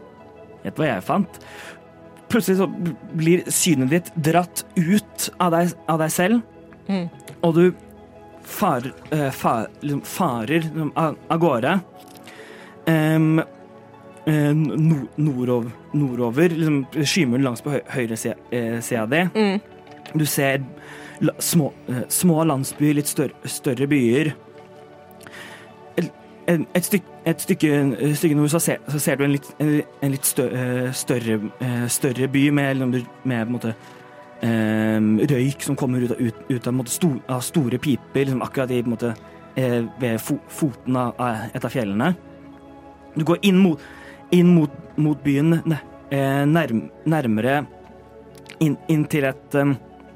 C: gjett hva jeg fant. Plutselig så b- blir synet ditt dratt ut av deg, av deg selv,
D: Mm.
C: og du farer, eh, fa- liksom, farer liksom, av, av gårde. Em, eh, no- nordov, nordover, liksom skymuren langs på høy- høyre sida eh, sida di.
D: Mm.
C: Du ser la, små, eh, små landsbyer, litt større, større byer. El- En, et, styk, et stykke, et stykke nord så ser, så ser du en litt, en, en litt stø, eh, større, eh, større by med, med, med på en måte, eh, røyk som kommer ut av, ut, ut av, på en måte, sto, av store piper liksom akkurat i, på en måte, eh, ved fo, foten av, av et av fjellene. Du går inn mot, inn mot, mot byen, ne- eh, nærm, nærmere inn, inn til et, ehm, em,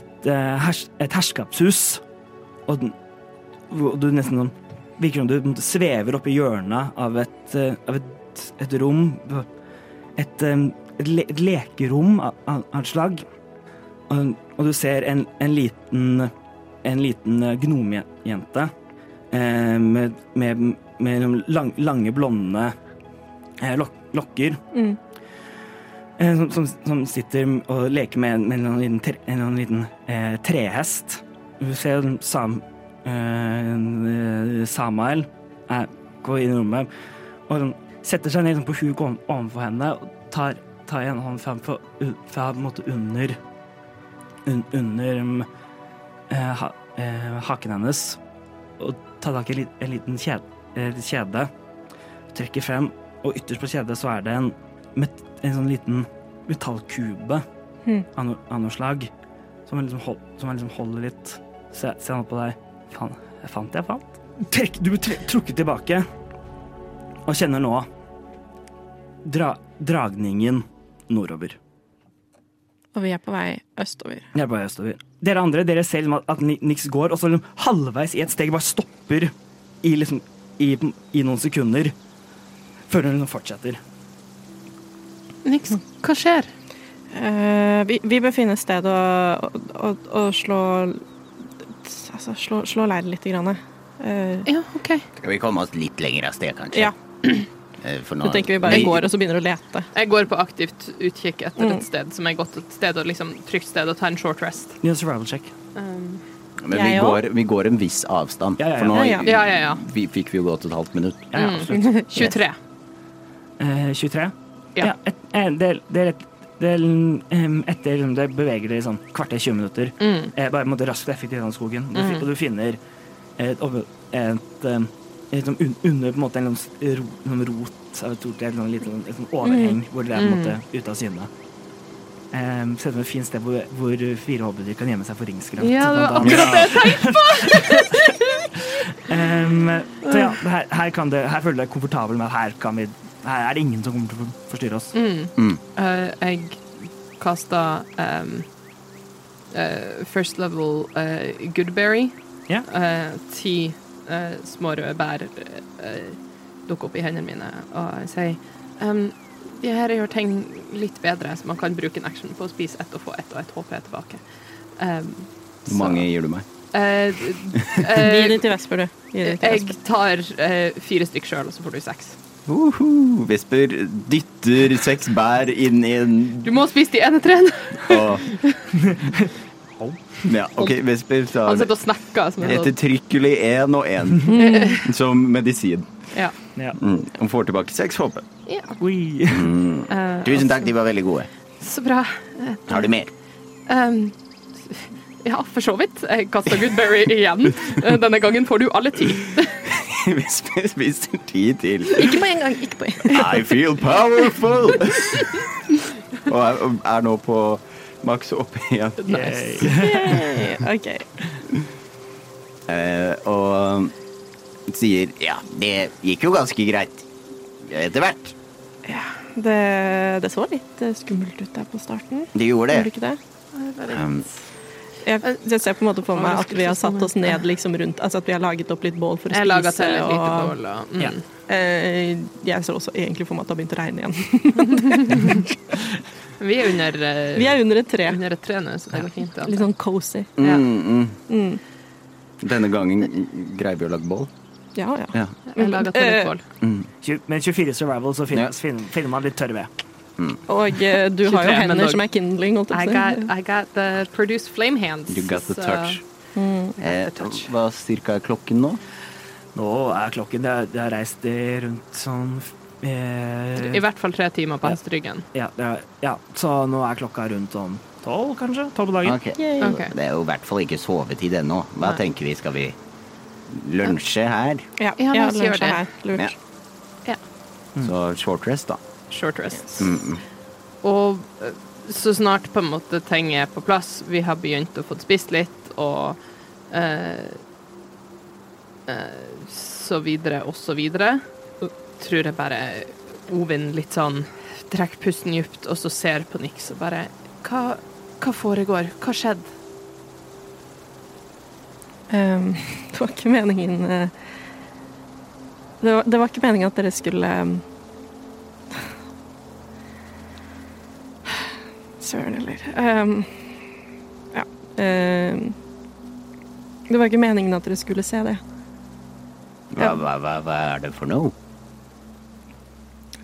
C: et, eh, hers, et herskapshus. Og den, hvor du nesten sånn Virker som du på en måte svever opp i hjørnet av et, eh, av et, et rom. Et, em, et, le, et lekerom av, av av et slag. Og, og du ser en, en liten en liten eh, gnomejente eh, med, med, med noen lang, lange, blonde eh, lok lokker.
D: Mm.
C: Eh, som, som, som sitter og leker med, en- med en liten, tre, en eller annen liten eh, trehest. Du ser en sam, eh, en, eh, Samael eh, gå inn i rommet og han setter seg ned liksom, på huk oven- ovenfor henne og tar, tar en hånd fram fra, fra på en måte under un, under um, eh, ha, eh, haken hennes og tar tak i en lit- en liten kjede, kjede trekker frem, og ytterst på kjedet så er det en, met, en sånn liten metallkube
D: Hmm.
C: av no- av noe slag, som han liksom, hold, som han liksom holder litt. Se, se han opp på deg. Faen, jeg fant det jeg fant. Trekk, du blir tre, trukket tilbake, og kjenner nå dra, dragningen nordover.
D: Og vi er på vei østover.
C: Jeg bare østover. Dere andre dere ser liksom at- at Ni- Nix går, og så liksom halvveis i et steg bare stopper i, liksom, i, i noen sekunder. Før hun liksom fortsetter.
B: Niks, hva skjer?
D: Eh, vi, vi bør finne et sted å, å, å, å slå Altså slå, slå leir litt. Grann. Eh,
B: Ja, OK.
A: Skal vi komme oss litt lenger av sted, kanskje?
D: ja,
A: Eh, For
D: så
A: nå
D: tenker vi bare går og så begynner å lete.
B: Jeg går på aktivt utkikk etter
D: Mm.
B: et sted som er godt et sted og liksom trygt sted å ta en short rest.
C: Gi en survival check.
B: Um,
H: Men vi
D: Jeg òg.
H: går, vi går en viss avstand,
C: Ja, ja, ja.
H: for nå
D: Ja,
B: ja, ja, ja.
H: Vi, fikk vi jo gått et halvt minutt.
C: Ja, ja,
B: Mm.
C: absolutt.
B: 23.
C: Eh, 23?
B: Ja.
C: et, eh, det, det er et, det er, em, etter liksom, det beveger det i sånn kvarter 20 minutter.
B: Mm.
C: Eh, bare måtte raskt og effektivt gjennom skogen. Du, fi-
B: Mm.
C: Og du finner et, ob- et, em, et, sånn un, under på en måte en eller annen s- ro, noen rot av et stort et, eller annet lite sånn- et, sånn overheng
B: Mm.
C: hvor dere er på en måte ute av syne. Um, Ser ut som et fint sted hvor, hvor fire hobbyer kan gjemme seg for ringskrant. Sånn
B: Ja, det var
C: blant annet.
B: akkurat det jeg tenkte!
C: Em, så ja, her, her, kan det, her føler du deg komfortabel med at her, kan vi, her er det ingen som kommer til å forstyrre oss.
B: Mm.
H: Mm.
B: Eh, jeg kasta um, eh, first level eh, goodberry.
C: Ja.
B: Eh, ti eh, små røde bær eh, dukker opp i hendene mine, og jeg sier um, de her gjør ting litt bedre, så man kan bruke en action på å spise ett og få ett og ett HP tilbake. Um,
H: Hvor mange gir du meg?
B: Eh,
D: Gi
B: eh,
D: det til Vesper, du. i det
B: Jeg tar eh, fire stykk sjøl, og så får du seks.
H: Uhu, Vesper dytter seks bær inn i en
B: Du må spise de ene trærne.
H: og- Ja, OK, Vesper
B: Han
H: tar
B: sitter og snakker. Som en sånn.
H: ettertrykkelig én og én som medisin.
B: Ja.
H: Mm. Hun får tilbake seks HP.
C: Oi.
B: Eh,
A: Tusen takk, de var veldig gode.
B: så bra.
A: Har du mer?
B: Ehm, ja, for så vidt. Jeg kaster Goodberry igjen. Eh, Denne gangen får du alle ti.
H: Vesper spiser ti til.
D: Ikke på en gang. Ikke på en gang.
H: I feel powerful! og er, er nå på maks oppe igjen.
D: Yay. OK.
H: Eh, og sier
A: Ja, det gikk jo ganske greit. Etter hvert.
D: Det, det så litt eh, skummelt ut der på starten.
A: Det gjorde
D: Gjorde det
A: det.
D: ikke det?
H: ehm,
B: Eh,
D: Jeg, jeg ser på en måte for meg at vi har satt oss
B: Ja.
D: ned liksom rundt Altså at vi har laget opp litt bål for å
B: Jeg lager
D: spise.
B: til et lite
D: og,
B: bål. Og, mm.
D: eh, jeg ser også egentlig for meg at det har begynt å regne igjen.
B: Vi er under, eh,
D: Vi er under et tre.
B: under et tre nå, så det går fint.
D: Litt sånn cozy.
B: Ja.
H: mm,
D: Mm.
H: mm. Denne gangen greier vi å lage boll.
D: Ja, ja.
H: Ja.
B: Jeg lager til et bål.
C: Tju- Med 24 survival så
H: Ja.
C: finner, finner, finner man litt tørr ved.
D: Og eh, du har
B: 23,
D: jo
B: men
D: hender
B: dog.
D: som er kindling, holdt
B: I
D: jeg på å si.
B: got, I got the produce flame hands.
H: You got the
B: så-
H: touch. Eh, hva cirka er klokken nå?
C: Nå er klokken Det er- det har reist i rundt sånn eh,
B: I hvert fall tre timer på hesteryggen.
C: ja, det er- ja, så nå er klokka rundt sånn tolv, kanskje? Tolv på dagen.
A: Ok.
D: Yay.
B: Ok.
A: Det er jo i hvert fall ikke sovetid ennå. Hva
B: Nei.
A: tenker vi, skal vi lunsje her?
D: Ja,
B: Ja,
D: ja,
B: la oss gjøre
D: lunsj
B: det.
D: er her.
A: Ja.
D: Lurt.
B: Mm.
H: Så short rest, da.
B: Short rests.
H: Mm, mm.
B: Og eh, så snart på en måte ting er på plass, vi har begynt å få spist litt, og eh, eh, så videre og så videre, tror jeg bare Ovin litt sånn trekker pusten djupt, og så ser på Nix og bare hva, hva foregår? Hva skjedde?
D: Um, det var ikke meningen eh, det, var, det var ikke meningen at dere skulle um, Søren heller. Um, ja. Um, det var ikke meningen at dere skulle se det.
A: Hva, hva, hva, hva er det for noe?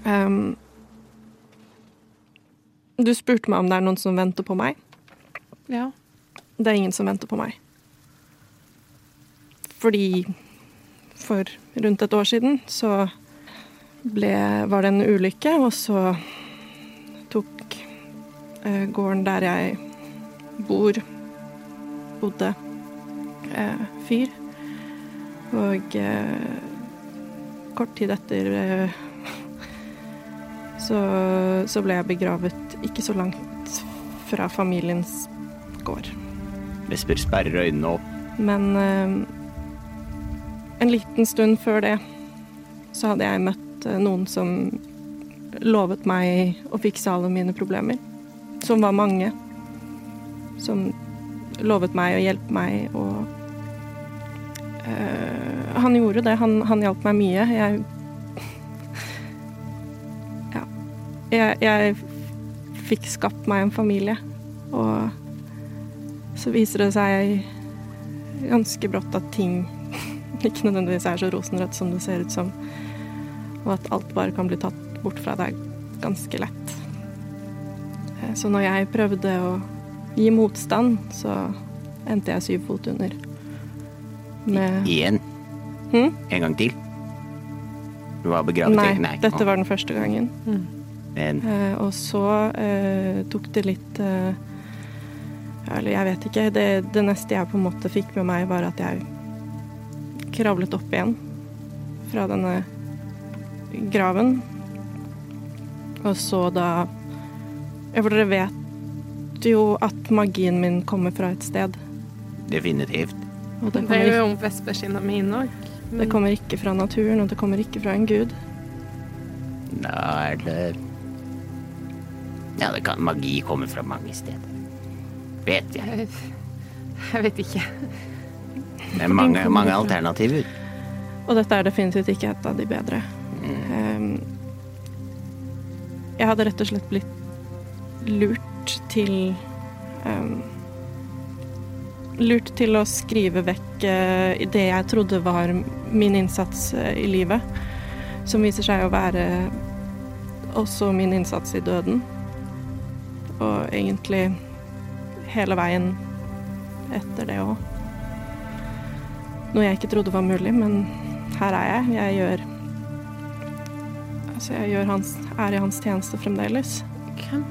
D: Um, du spurte meg om det er noen som venter på meg.
B: Ja.
D: Det er ingen som venter på meg. Fordi for rundt et år siden så ble, var det en ulykke, og så tok eh, gården der jeg bor, bodde, eh, fyr. Og eh, kort tid etter eh, så, så ble jeg begravet ikke så langt fra familiens gård.
H: Vesper sperrer øynene opp.
D: Men eh, en liten stund før det så hadde jeg møtt eh, noen som lovet meg å fikse alle mine problemer. Som var mange. Som lovet meg å hjelpe meg og eh, Han gjorde det. Han, han hjalp meg mye. Jeg Ja. Jeg, jeg fikk skapt meg en familie, og så viser det seg ganske brått at ting ikke nødvendigvis er så rosenrødt som det ser ut som. Og at alt bare kan bli tatt bort fra deg ganske lett. Eh, Så når jeg prøvde å gi motstand, så endte jeg syv fot under. Med
A: Igjen?
D: Hm?
A: En gang til? Du var begravet
D: Nei,
A: i-
D: dette var den første gangen.
B: Mm.
A: Men
D: Eh, og så eh, tok det litt eh, ja, Eller jeg vet ikke. Det, det neste jeg på en måte fikk med meg, var at jeg kravlet opp igjen fra denne graven. Og så da Ja, for dere vet jo at magien min kommer fra et sted.
A: definitivt.
D: Og det
B: Det er
D: kommer,
B: jo om vespersinna mine òg.
D: ikke- det kommer ikke fra naturen, og det kommer ikke fra en gud.
A: Da er det Ja, det kan magi komme fra mange steder. Vet jeg.
B: Jeg jeg vet ikke.
A: Det er mange, mange alternativer.
D: Og dette er definitivt ikke et av de bedre. Um, jeg hadde rett og slett blitt lurt til um, ehm, lurt til å skrive vekk eh, det jeg trodde var min innsats eh, i livet, som viser seg å være også min innsats i døden. Og egentlig hele veien etter det òg. Noe jeg ikke trodde var mulig, men her er jeg. Jeg gjør Altså, jeg gjør hans, er i hans tjeneste fremdeles.
I: Hvem?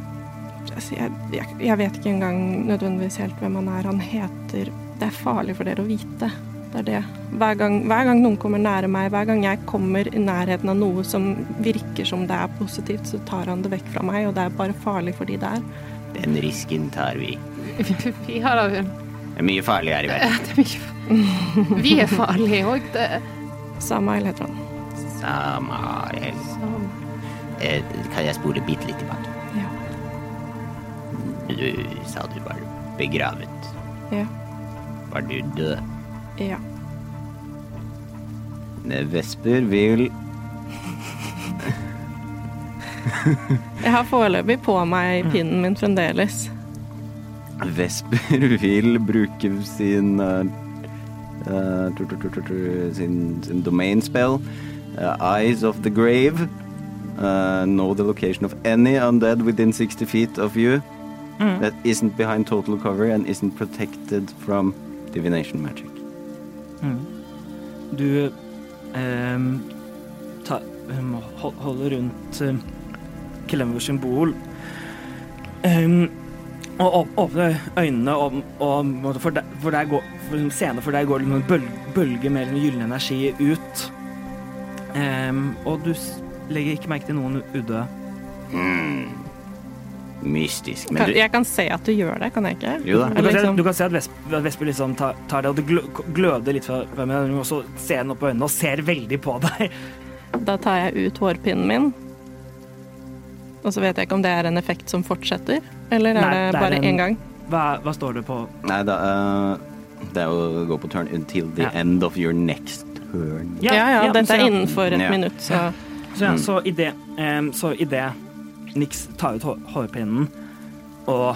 D: Altså, jeg, jeg, jeg vet ikke engang nødvendigvis helt hvem han er. Han heter Det er farlig for dere å vite. Det er det. Hver gang, hver gang noen kommer nære meg, hver gang jeg kommer i nærheten av noe som virker som det er positivt, så tar han det vekk fra meg, og det er bare farlig for de der.
A: Den risken tar vi.
B: Vi har av
A: Det er mye farlig her i verden.
B: Det er mye Vi er farlige òg.
D: Samael heter han.
A: Samael. Eh, Kan jeg spole bitte litt tilbake?
D: Ja.
A: Du sa du var begravet.
D: Ja.
A: Var du død?
D: ja.
H: Vesper vil
D: Jeg har foreløpig på meg pinnen min fremdeles.
H: Vesper vil bruke sin eh, eh, tu- tu- tu- tu- tu- sin, sin domain spell eh, Eyes of the grave eh, Know the location of any undead within 60 feet of you
C: Mm. Mm-hmm.
H: That isn't behind total cover And isn't protected from divination magic
C: Mm. Du ehm, ta, ehm, hol- holder rundt um, Kelembers symbol ehm, og åp- åpner øynene, og, og måtte for, der, for der går for liksom scenen for der går det noen bøl, bølger med en gyllen energi ut. Ehm, og du s- legger ikke merke til noen udøde.
A: Mystisk. Men
D: Kan,
A: du,
D: jeg kan se at du gjør det, kan jeg ikke?
A: Jo da.
D: Eller
C: Du kan, se,
D: Liksom,
C: du kan se at Vesper, at Vesper liksom tar, tar det, og det glø- gløder litt fra fra meg, og så ser den opp på øynene og ser veldig på deg.
D: da tar jeg ut hårpinnen min. Og så vet jeg ikke om det er en effekt som fortsetter, eller er
C: Nei, det
D: det
C: er
D: bare
C: en-
D: én gang?
C: Hva, hva står det på
H: Nei, da, eh, det er jo å gå på turn Until the
C: Ja.
H: end of your next turn
D: Ja, ja, dette
C: så
D: er
C: ja.
D: innenfor et
H: Ja.
D: minutt, så
C: Så, ja, så i det, em, så i det Nix tar ut hår- hårpinnen, og,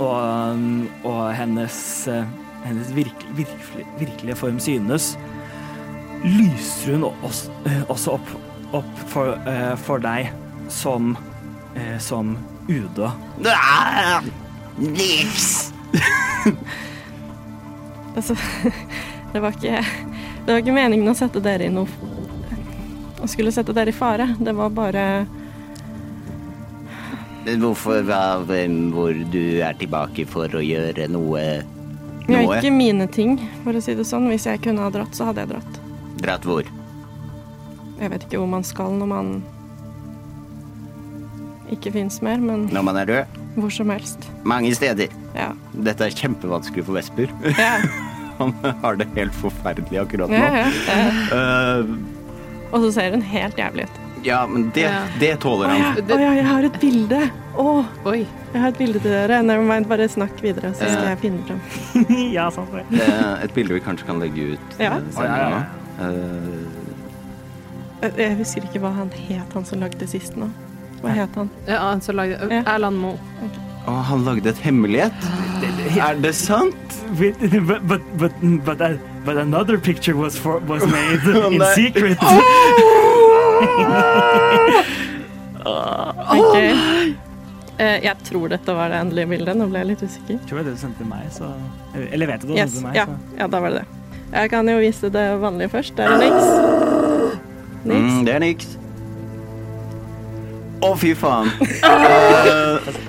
C: og, um, og hennes, eh, hennes virke, virkelig, virkelige form synes, lyser hun også, også opp, opp for, eh, for deg som, eh, som udød.
A: Ah! Niks!
D: altså, det, var ikke, det var ikke meningen å sette dere i noe Å skulle sette dere i fare. Det var bare
A: Men Hvorfor hva, hvem, hvor du er tilbake for å gjøre noe
D: ja,
A: Noe?
D: Ikke mine ting, for å si det sånn. Hvis jeg kunne ha dratt, så hadde jeg dratt.
A: Dratt hvor?
D: Jeg vet ikke hvor man skal når man ikke fins mer, men
A: Når man er død?
D: hvor som helst.
A: Mange steder.
D: Ja.
H: Dette er kjempevanskelig for Vesper
D: ja.
H: Han har det helt forferdelig akkurat nå
D: ja, ja, ja.
H: Eh,
D: Og så ser hun helt jævlig ut.
H: Ja, men det,
B: Ja.
H: det tåler han.
D: Å ja, jeg har et bilde! Å,
B: Oi.
D: jeg har et bilde til dere. Nevermind, bare snakk videre, så skal
H: Ja.
D: jeg finne fram.
C: ja, sant det.
H: Det er Eh, et bilde vi kanskje kan legge ut
D: Ja.
H: eh,
C: Å,
H: senere.
C: ja, ja, ja.
H: nå. Eh,
D: Eh, Jeg husker ikke hva han het, han som lagde sist nå. Hva het han?
B: Ja, han som lagde
D: Ja.
B: Erland Moe.
H: Å, han lagde et hemmelighet. Er det sant?
C: With- But, but, but, but, a- but another picture was, for, was made in
H: nei.
C: secret.
D: Ok. Eh, Jeg tror dette var det endelige bildet, nå ble jeg litt usikker.
C: tror jeg det du sendte til meg, så Eller vet du det du
D: Yes,
C: sendte til meg,
D: ja, ja da var det det. Jeg kan jo vise det vanlige først. Der er Nix.
H: Mm,
D: Nix.
H: det er niks. Å, fy faen.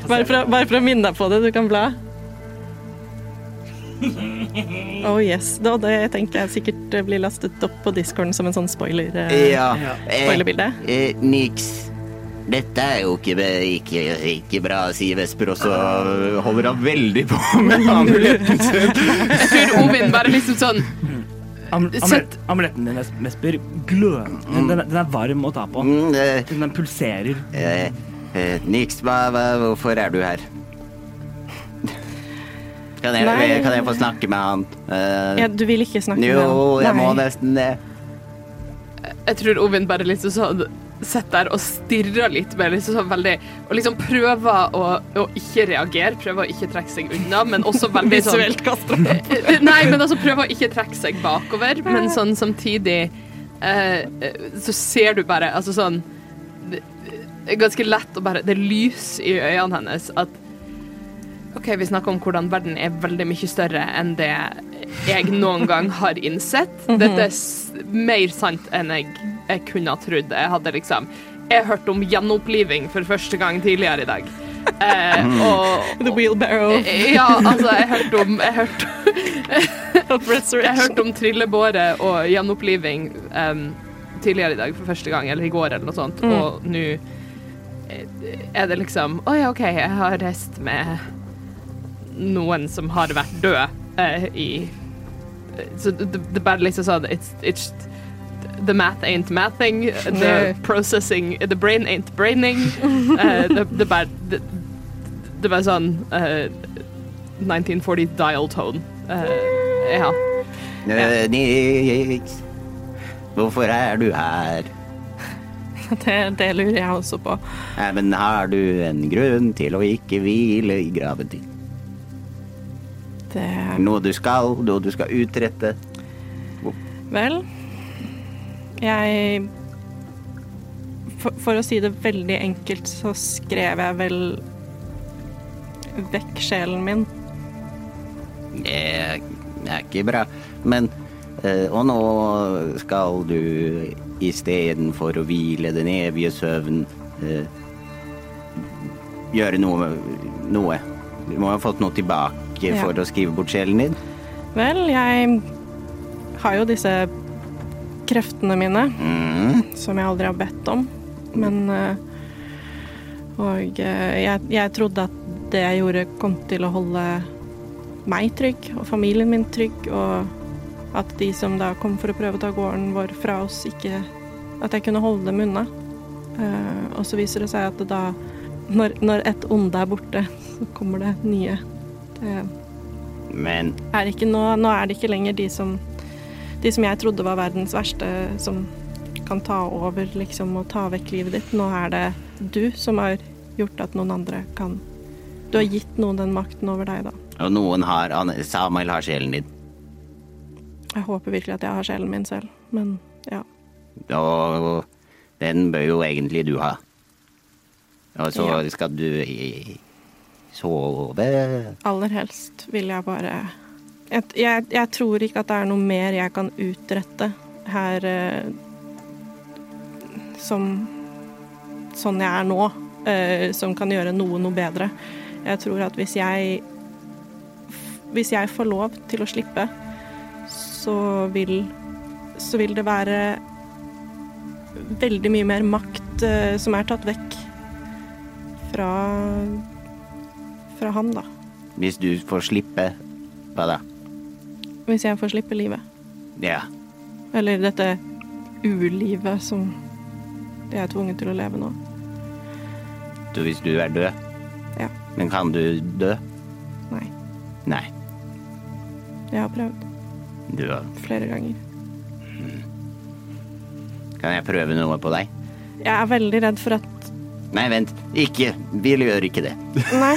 D: Bare for, å, bare for å minne deg på det, du kan bla. Oh yes. Da, det tenker jeg sikkert eh, blir lastet opp på discorden som en sånn spoiler. eh,
A: Ja.
C: Ja.
A: Eh,
D: Spoilerbilde.
A: eh, niks. Dette er jo ikke, ikke, ikke bra, sier Vesper, og så holder han veldig på med amuletten sin.
B: Jeg tror Ovin bare liksom sånn
C: så am amulett, amuletten din, Ves- Vesper, glør. Den, den, er- den er varm å ta på.
A: Mm, eh,
C: Den den pulserer.
A: eh, eh, niks, hva, hva, hvorfor er du her? Kan jeg,
D: Nei.
A: kan jeg få snakke med han? Eh,
D: Ja, du vil ikke snakke med
A: jo, jeg må
D: Nei.
A: nesten det.
B: Jeg tror Ovin bare liksom sånn sitter der og stirrer litt mer, liksom sånn veldig Og liksom prøver å, å ikke reagere, prøver å ikke trekke seg unna, men også veldig sånn
D: Visuelt kaster opp.
B: Nei, men altså prøver å ikke trekke seg bakover, men sånn samtidig eh, så ser du bare Altså sånn det er Ganske lett å bare Det er lys i øynene hennes at OK, vi snakker om hvordan verden er veldig mye større enn det jeg noen gang har innsett. Dette er s mer sant enn jeg, jeg kunne ha trodd. Jeg hadde liksom Jeg hørte om gjenoppliving for første gang tidligere i dag. Eh, og,
D: The wheelbarrow
B: ja, altså, jeg hørte om Jeg hørte,
D: of
B: jeg
D: resurrection.
B: hørte om trillebåre og gjenoppliving em, tidligere i dag for første gang, eller i går, eller noe sånt, og nå eh, er det liksom Å ja, OK, jeg har reist med noen som har vært død eh, i eh, Så det det er bare liksom sånn it's, it's The math ain't mathing. The
D: Nei.
B: processing The brain ain't braining. Eh, det, det er bare det, det er bare sånn eh, 1940 dial tone. Eh, ja.
H: Eh, Nix, hvorfor er du her?
D: Det, det lurer jeg også på.
H: Nei, Eh, men har du en grunn til å ikke hvile i graven din?
D: Det
H: Noe du skal, noe du skal utrette?
D: Vel Jeg for, for å si det veldig enkelt, så skrev jeg vel vekk sjelen min.
H: Det er ikke bra. Men eh, Og nå skal du istedenfor å hvile den evige søvn eh, gjøre noe med noe. Du må ha fått noe tilbake
D: Ja.
H: for å skrive bort sjelen din.
D: Vel, jeg har jo disse kreftene mine.
H: Mm.
D: som jeg aldri har bedt om. Men eh, Og eh, jeg, jeg trodde at det jeg gjorde, kom til å holde meg trygg og familien min trygg, og at de som da kom for å prøve å ta gården vår fra oss, ikke At jeg kunne holde dem unna. Eh, og så viser det seg at det da når, når et onde er borte, så kommer det nye. Det
H: Men
D: er ikke nå, nå er det ikke lenger de som, de som jeg trodde var verdens verste, som kan ta over liksom, og ta vekk livet ditt. Nå er det du som har gjort at noen andre kan Du har gitt noen den makten over deg, da.
H: Og noen har han- Samuel har sjelen din.
D: Jeg håper virkelig at jeg har sjelen min selv, men ja.
H: Og den bør jo egentlig du ha. Og så
D: Ja.
H: skal du i- sove
D: Aller helst vil jeg bare jeg, jeg, jeg tror ikke at det er noe mer jeg kan utrette her eh, som sånn jeg er nå, eh, som kan gjøre noe noe bedre. Jeg tror at hvis jeg hvis jeg får lov til å slippe, så vil så vil det være veldig mye mer makt eh, som er tatt vekk fra fra han, da.
H: Hvis du får slippe Hva da?
D: Hvis jeg får slippe livet.
H: Ja.
D: Eller dette ulivet som jeg er tvunget til å leve nå.
H: Så hvis du er død?
D: Ja.
H: Men kan du dø?
D: Nei.
H: Nei.
D: Jeg har prøvd
H: Du har
D: flere ganger.
H: Kan jeg prøve noe på deg?
D: Jeg er veldig redd for at
H: Nei, vent. Ikke. Vi gjør ikke det.
D: Nei.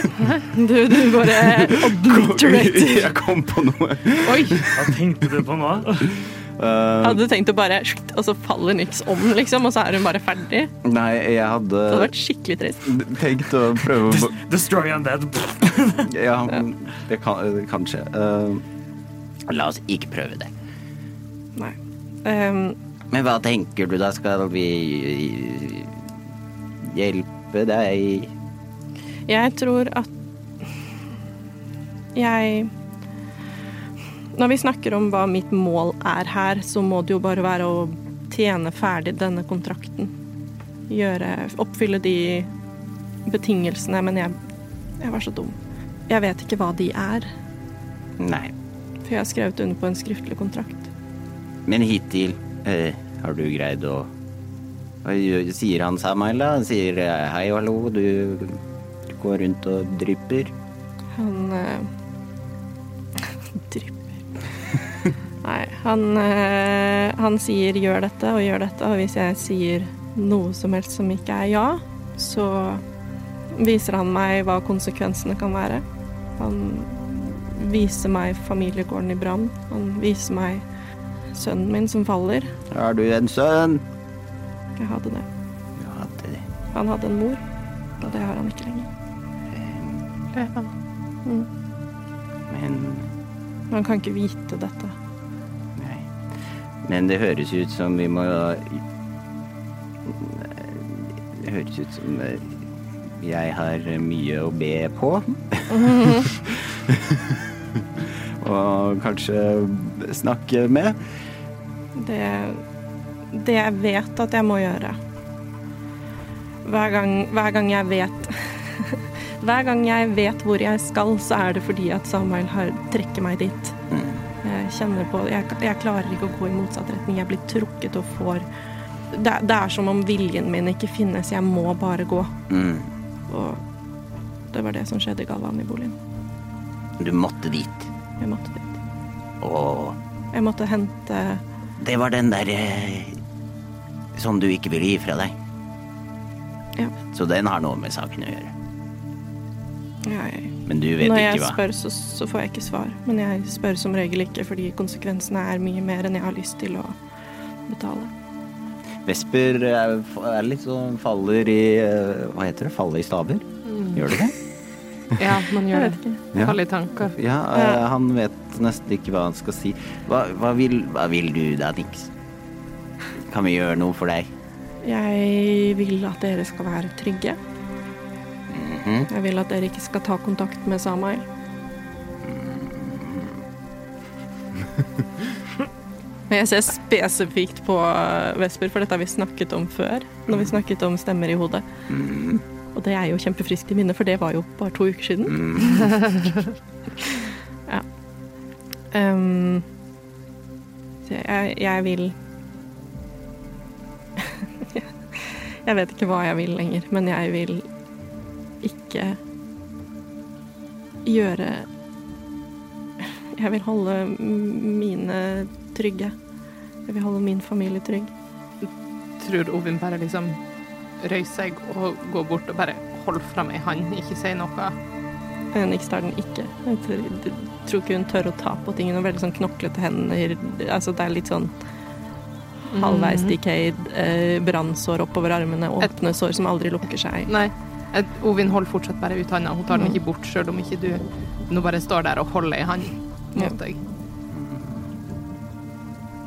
D: Du, du bare obliterated.
J: Jeg kom på noe.
B: Oi!
C: Hva tenkte du på nå?
D: Jeg hadde tenkt å bare Og så faller Nix om, liksom, og så er hun bare ferdig.
J: Nei, jeg
D: Det hadde
J: hadde
D: vært skikkelig trist.
J: tenkt å prøve å
C: Destroy undead.
J: Ja, det kan, kanskje. Eh,
H: La oss ikke prøve det.
D: Nei. Ehm,
H: Men hva tenker du da? Skal vi hjelpe deg?
D: Jeg tror at jeg Når vi snakker om hva mitt mål er her, så må det jo bare være å tjene ferdig denne kontrakten. Gjøre Oppfylle de betingelsene. Men jeg, jeg var så dum. Jeg vet ikke hva de er,
H: Nei.
D: for jeg har skrevet under på en skriftlig kontrakt.
H: Men hittil eh, har du greid å Hva gjør- Sier han Samuel, da? Han sier eh, hei og hallo, du går rundt og drypper.
D: Han eh, drypper. Nei, han, eh, han sier 'gjør dette' og 'gjør dette', og hvis jeg sier noe som helst som ikke er ja, så viser han meg hva konsekvensene kan være. Han viser meg familiegården i brann. Han viser meg sønnen min som faller.
A: Har du en sønn?
D: Jeg hadde det.
A: Ja, det
D: Han hadde en mor, og det har han ikke lenger.
A: Men
D: Men Han kan ikke vite dette.
A: Nei. Men det høres ut som vi må eh, Det høres ut som eh, jeg har mye å be på. Og kanskje snakke med.
D: Det, det jeg vet at jeg må gjøre. Hver gang, hver gang jeg vet Hver gang jeg vet hvor jeg skal, så er det fordi at Samuel har, trekker meg dit. Jeg kjenner på jeg, jeg klarer ikke å gå i motsatt retning. Jeg blir trukket og får det, det er som om viljen min ikke finnes. Jeg må bare gå. Og det var det som skjedde i Galvaniboligen.
A: Du måtte dit.
D: Jeg måtte dit.
A: Og
D: Jeg måtte hente
A: det var den der eh, som du ikke ville gi fra deg.
D: Ja.
A: Så den har noe med saken å gjøre.
D: jeg,
A: Men du vet
D: Når jeg
A: ikke hva.
D: spør, så, så får jeg ikke svar. Men jeg spør som regel ikke, fordi konsekvensene er mye mer enn jeg har lyst til å betale.
H: Vesper er, er litt sånn faller i eh, Hva heter det? Falle i staver?
D: Mm.
H: Gjør det det?
B: Ja, man gjør det.
D: ikke.
H: Ja.
B: Faller i tanker.
H: Ja, eh, han vet nesten ikke hva han skal si. Hva, hva, vil, hva vil du da, Nix? Kan vi gjøre noe for deg?
D: Jeg vil at dere skal være trygge. Jeg vil at dere ikke skal ta kontakt med Samael. Men jeg ser spesifikt på eh, Vesper, for dette har vi snakket om før. Når vi snakket om stemmer i hodet. Og det er jo kjempefriskt i minne, for det var jo bare to uker siden. ja. Ehm, så jeg, jeg vil Jeg vet ikke hva jeg vil lenger, men jeg vil ikke gjøre Jeg vil holde m- mine trygge. Jeg vil holde min familie trygg.
B: Tror Ovin bare liksom røyser seg og går bort og bare holder fram ei hand, ikke sier noe.
D: Men ikke tar den ikke. Jeg tror, jeg tror ikke hun tør å ta på tingene. Hun har veldig sånn knoklete hender. Altså, det er litt sånn halvveis decayed, eh, brannsår oppover armene, åpne sår som aldri lukker seg.
B: Nei. Et- Ovin holder fortsatt bare ut handa. Hun tar den ikke bort, sjøl om ikke du nå bare står der og holder ei hand mot deg.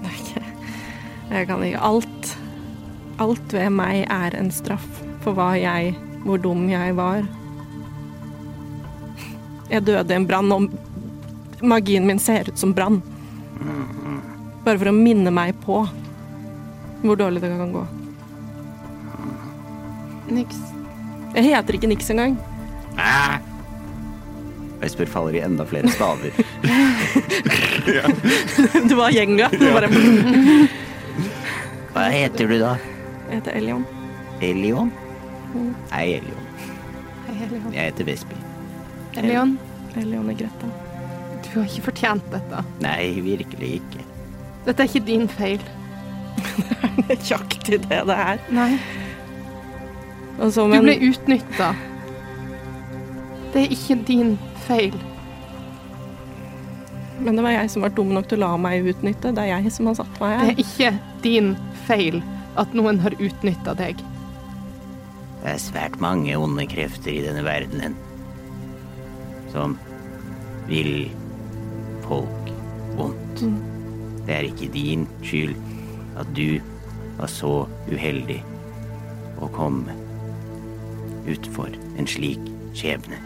D: Det er ikke- Jeg kan ikke Alt Alt ved meg er en straff for hva jeg Hvor dum jeg var. Jeg døde i en brann, og magien min ser ut som brann. Bare for å minne meg på hvor dårlig det kan gå.
B: Niks.
D: Jeg heter ikke Nix engang.
H: Vesper faller i enda flere staver.
D: Du var gjenga. Du bare
A: Hva heter du da?
D: Jeg heter Elion.
A: Elion? Nei, Elion. Jeg heter Vesper.
B: Leon,
D: Elion er Greta.
B: du har ikke fortjent dette.
A: Nei, virkelig ikke.
B: Dette er ikke din feil.
D: Nøyaktig det det er.
B: Nei.
D: Og så,
B: Du
D: men,
B: ble utnytta. Det er ikke din feil.
D: men det var jeg som var dum nok til å la meg utnytte. Det er jeg som har satt meg her.
B: Det er ikke din feil at noen har utnytta deg.
A: Det er svært mange onde krefter i denne verdenen som vil folk vondt. Det er ikke din skyld at du var så uheldig å komme utfor en slik skjebne.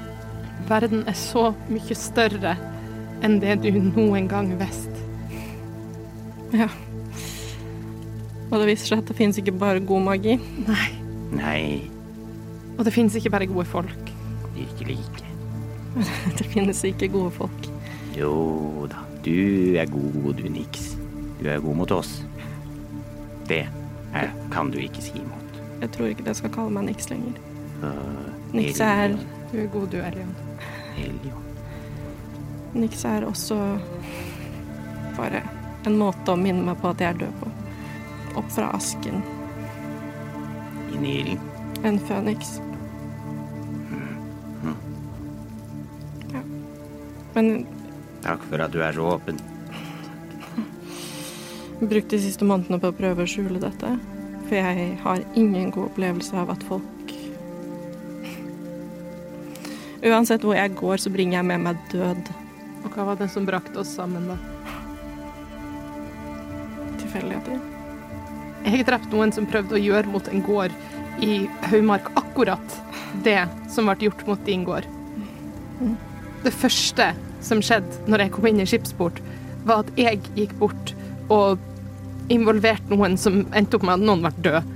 B: Verden er så mye større enn det du noen gang visste.
D: Ja. Og det viser seg at det finnes ikke bare god magi.
B: Nei.
A: Nei,
B: Og det finnes ikke bare gode folk.
A: virkelig ikke.
D: Det finnes ikke gode folk.
A: Jo da, du er god, du niks. Du er god mot oss. Det
H: eh,
A: er, kan du ikke si imot.
D: Jeg tror ikke det skal kalle meg Nix lenger.
A: Øh,
D: Nix er,
A: Elion,
B: Du er god, du, Elion.
A: Elion.
D: Nix er også bare en måte å minne meg på at jeg er død på. Opp fra asken.
C: Gnil.
D: En føniks. Ja. Men
H: Takk for at du er så åpen.
D: Brukt de siste månedene på å prøve å skjule dette. For jeg har ingen god opplevelse av at folk Uansett hvor jeg går, så bringer jeg med meg død.
B: Og hva var det som brakte oss sammen, da?
D: Tilfeldigheter.
B: Jeg har drept noen som prøvde å gjøre mot en gård i Haumark akkurat det som ble gjort mot din gård. Det første som skjedde når jeg kom inn i skipsport, var at jeg gikk bort og involverte noen som endte opp med at noen ble død.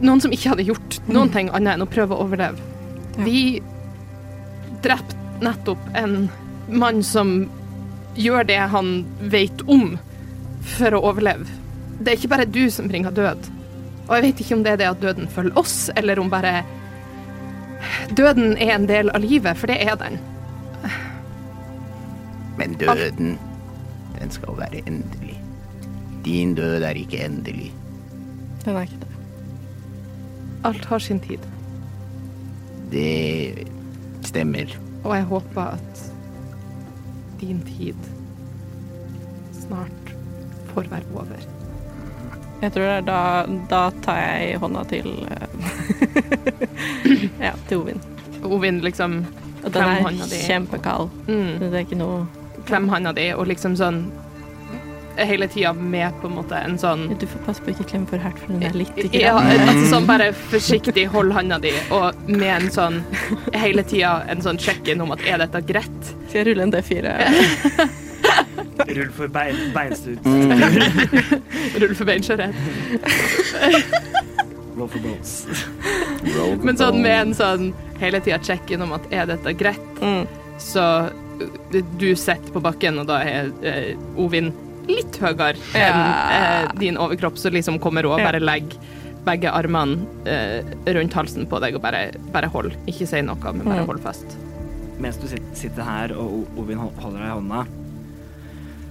B: Noen som ikke hadde gjort noen ting annet enn å prøve å overleve.
D: Ja.
B: Vi drepte nettopp en mann som gjør det han vet om for å overleve. Det er ikke bare du som bringer død. Og jeg vet ikke om det er det at døden følger oss, eller om bare Døden er en del av livet, for det er den.
A: Men døden, den skal være endelig. Din død er ikke endelig.
D: Den er ikke det.
B: Alt har sin tid.
A: Det stemmer.
B: Og jeg håper at din tid snart får være over.
D: Jeg tror det er da Da tar jeg hånda til eh, Ja, til Ovin.
B: Ovin liksom
D: Og den
B: Klem
D: er
B: hånda di.
D: kjempekald.
B: mm,
D: Det er ikke noe
B: Klem handa di og liksom sånn Hele tida med på en måte en sånn
D: Du får passe på å ikke klemme for hardt, for den er litt
B: Ja,
D: grann.
B: altså sånn bare forsiktig hold handa di, og med en sånn hele tida en sånn check-in om at er dette greit?
D: Skal jeg rulle en D4?
C: Rull for bein, beinstut.
B: Rull for beinskjørhet.
C: Roll for bones.
B: Men sånn med en sånn hele tida check-in om at er dette greit,
D: Mm.
B: så uh, du sitter på bakken, og da er eh, Ovin litt høyere enn eh, din overkropp, så liksom kommer hun og
D: Ja.
B: bare legger begge armene eh, rundt halsen på deg og bare, bare hold. Ikke si noe, men bare
D: Mm.
B: hold fast.
C: Mens du sit- sitter her og O- Ovin hol- holder deg i hånda,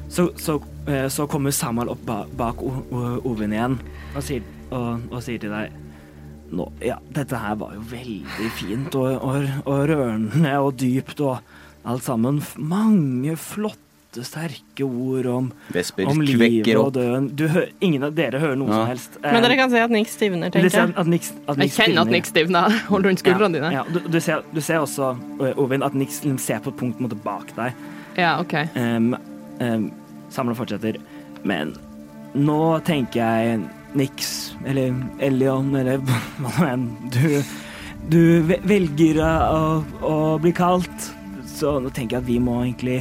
C: så, så, eh, så kommer Samuel opp ba- bak O- O- Ovin igjen og sier, og, og sier til deg Nå, ja, dette her var jo veldig fint og, og, og rørende og dypt og alt sammen. F- Mange flotte, sterke ord om,
H: Vesper
C: om livet
H: kvekker
C: og
H: opp.
C: døden. Du hø- ingen av dere hører noe
H: Ja.
C: som helst.
D: Men
C: Eh,
D: dere kan se at Nick stivner,
C: du
D: tenker
C: ser
D: jeg.
C: at Nix, at
B: Jeg
C: Nix
B: kjenner at
C: stivner.
B: Nick stivner. Hold rundt skuldrene dine.
C: Ja, du, du, ser, du ser også, ø, Ovin, at Nix liksom ser på et punkt på en måte, bak deg.
B: Ja, OK.
C: Um, um, Samla fortsetter. Men nå tenker jeg Nix, eller Elion, eller hva nå enn du, du ve- velger å, å bli kalt. Så nå tenker jeg at vi må egentlig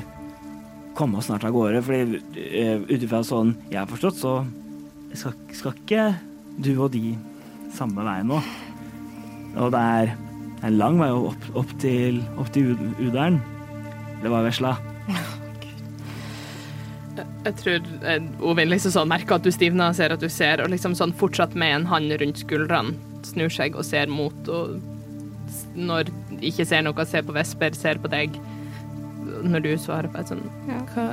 C: komme oss snart av gårde, fordi eh, ut ifra sånn jeg har forstått, så skal, skal ikke du og de samme veien nå. Og det er en lang vei opp, opp til, opp til Ud- Udalen. Det var vesla.
B: Jeg tror eh, Ovin liksom sånn merker at du stivner, ser at du ser, og liksom sånn fortsatt med en hand rundt skuldrene, snur seg og ser mot, og s- når ikke ser noe, ser på Vesper, ser på deg, når du svarer på et sånn
D: Ja.
B: hva?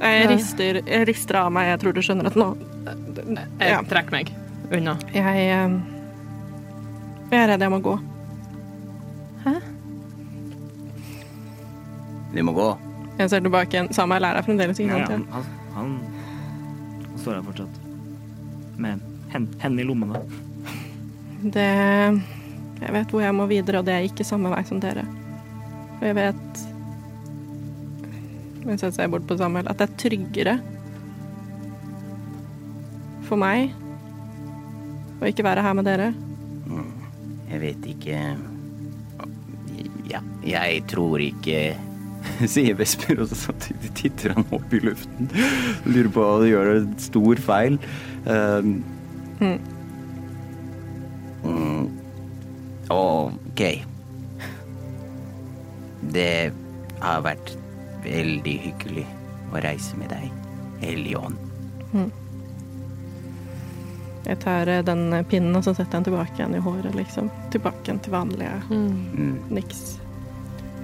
D: Jeg
B: Ja.
D: rister, jeg rister av meg, jeg tror du skjønner at nå
B: Jeg
D: Ja.
B: trekker eh, meg unna.
D: Jeg eh, Jeg er redd jeg må gå.
H: Vi må gå.
D: Jeg ser tilbake igjen. Samme jeg lærer fremdeles, ikke
C: Ja, ja,
D: sant?
C: han, han, han han står her fortsatt. Med hen- hendene i lommene.
D: ja. Det Jeg vet hvor jeg må videre, og det er ikke samme vei som dere. Og jeg vet Mens jeg ser bort på Samuel, at det er tryggere for meg å ikke være her med dere.
A: Jeg vet ikke Ja, jeg tror ikke
H: sier Vesper, og så samtidig titter han opp i luften. Lurer på hva du gjør, en stor feil. Ehm,
D: Hmm.
A: mm, OK. Det har vært veldig hyggelig å reise med deg, Elion.
D: Jeg tar eh, den pinnen og så setter jeg den tilbake igjen i håret, liksom. Tilbake igjen til vanlige
A: Mm.
D: niks.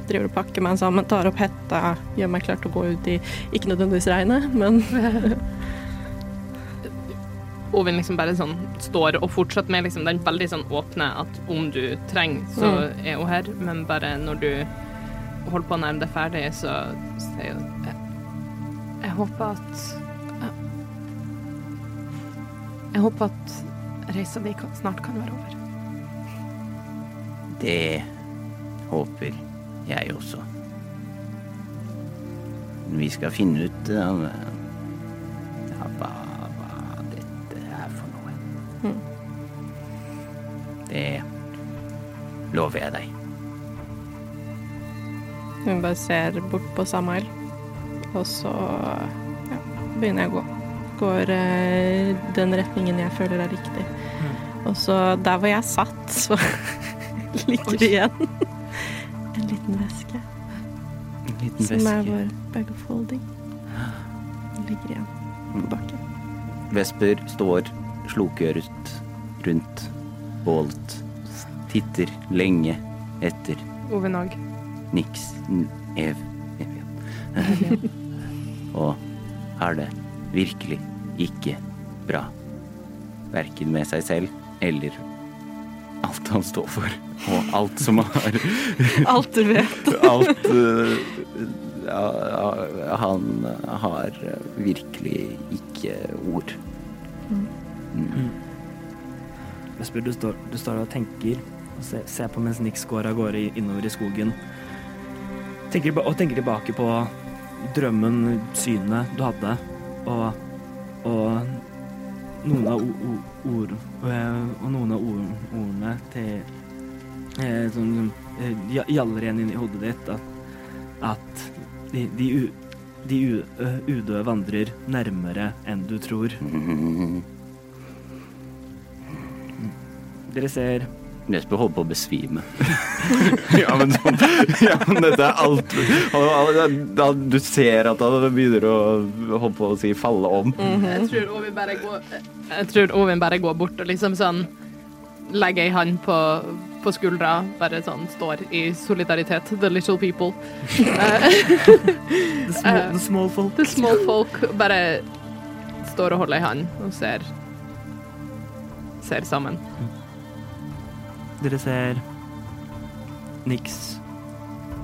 D: Driver og pakker meg sammen, tar opp hetta, gjør meg klar til å gå ut i ikke nødvendigvis regnet, men
B: Ovin liksom bare sånn står og fortsetter med liksom den veldig sånn åpne at om du trenger, så er hun her, men bare når du holder på å nærme deg ferdig, så sier hun jeg, jeg håper at jeg, jeg håper at reisa di kan- snart kan være over.
K: Det håper jeg også.
H: Vi skal finne ut eh, ja, hva, hva dette er for noe. Det lover jeg deg.
D: Hun bare ser bort på Samael, og så ja, begynner jeg å gå. Går eh, den retningen jeg føler er riktig.
H: Mm.
D: Og så der hvor jeg satt, så ligger det igjen en liten veske
H: En liten
D: som er
H: veske.
D: vår bag of holding. Den ligger igjen på bakken.
H: Vesper står slukøret rundt bålet. Titter lenge etter
B: Ovin òg.
H: niks n- ev... Evian. Og har det virkelig ikke bra. Verken med seg selv eller alt han står for, og alt som har
D: Alt du vet.
H: Alt eh, ja, ja, Han har virkelig ikke ord.
C: Vesper, du står, du står og tenker og ser, ser på mens Nix går av gårde innover i skogen. Tenker, tilba- og tenker tilbake på drømmen, synet du hadde, og, og noen av o- o- ord, eh, og noen av ord, ordene til eh, som, som eh, gja- gjaller igjen inn i hodet ditt, at, at de, de, u, de u, ø, udøde vandrer nærmere enn du tror. Dere ser
H: Nesbø holdt på å besvime. ja, men sånn Ja, men dette er alt han, han, han, Du ser at han begynner å holdt på å si falle om.
B: Jeg tror Ovin bare går Mhm. Jeg tror Ovin bare går bort og liksom sånn legger ei hand på, på skuldra, bare sånn står i solidaritet. The little people. Eh,
C: The small, the small folk.
B: The small folk bare står og holder ei hand og ser ser sammen.
C: Dere ser Nix,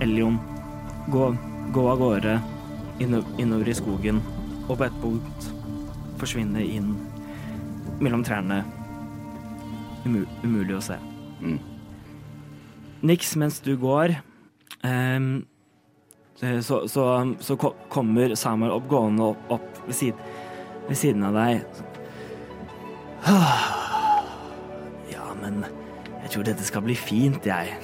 C: Elion gå, gå av gårde inno- innover i skogen, og på et punkt forsvinne inn mellom trærne. Umu umulig å se. Nix, mens du går ehm, eh, så, så, så ko- kommer Samuel opp gående opp, opp ved, siden, ved siden av deg. Ja, men jeg tror dette skal bli fint, jeg.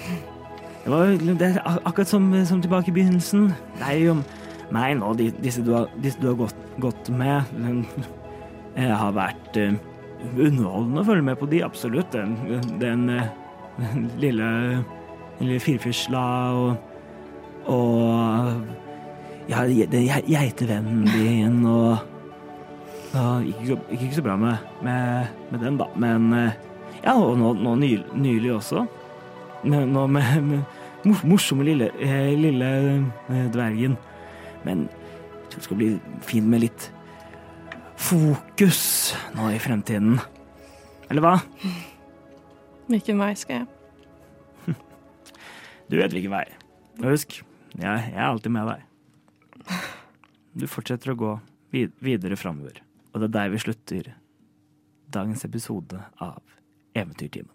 C: Det var jo- det er ak- akkurat som, som tilbake i begynnelsen. Det er jo meg nå, de, disse du har, disse du har gått, gått med. men Jeg har vært eh, underholdende å følge med på de, absolutt. Den, den, eh, den lille, den lille firfisla og, og ja, den ge- geitevennen din og og gikk ikke, gikk ikke så bra med, med, med den, da. Men eh, ja, og nå, nå ny, nylig også. Nå nå med, med mor- morsomme lille, eh, lille eh, dvergen. Men jeg tror det skal bli fint med litt fokus nå i fremtiden. Eller hva?
D: Hvilken vei skal jeg?
C: Du vet hvilken vei. Og husk, jeg, jeg er alltid med deg. Du fortsetter å gå vid videre framover, og det er der vi slutter dagens episode av Eventyrtimen.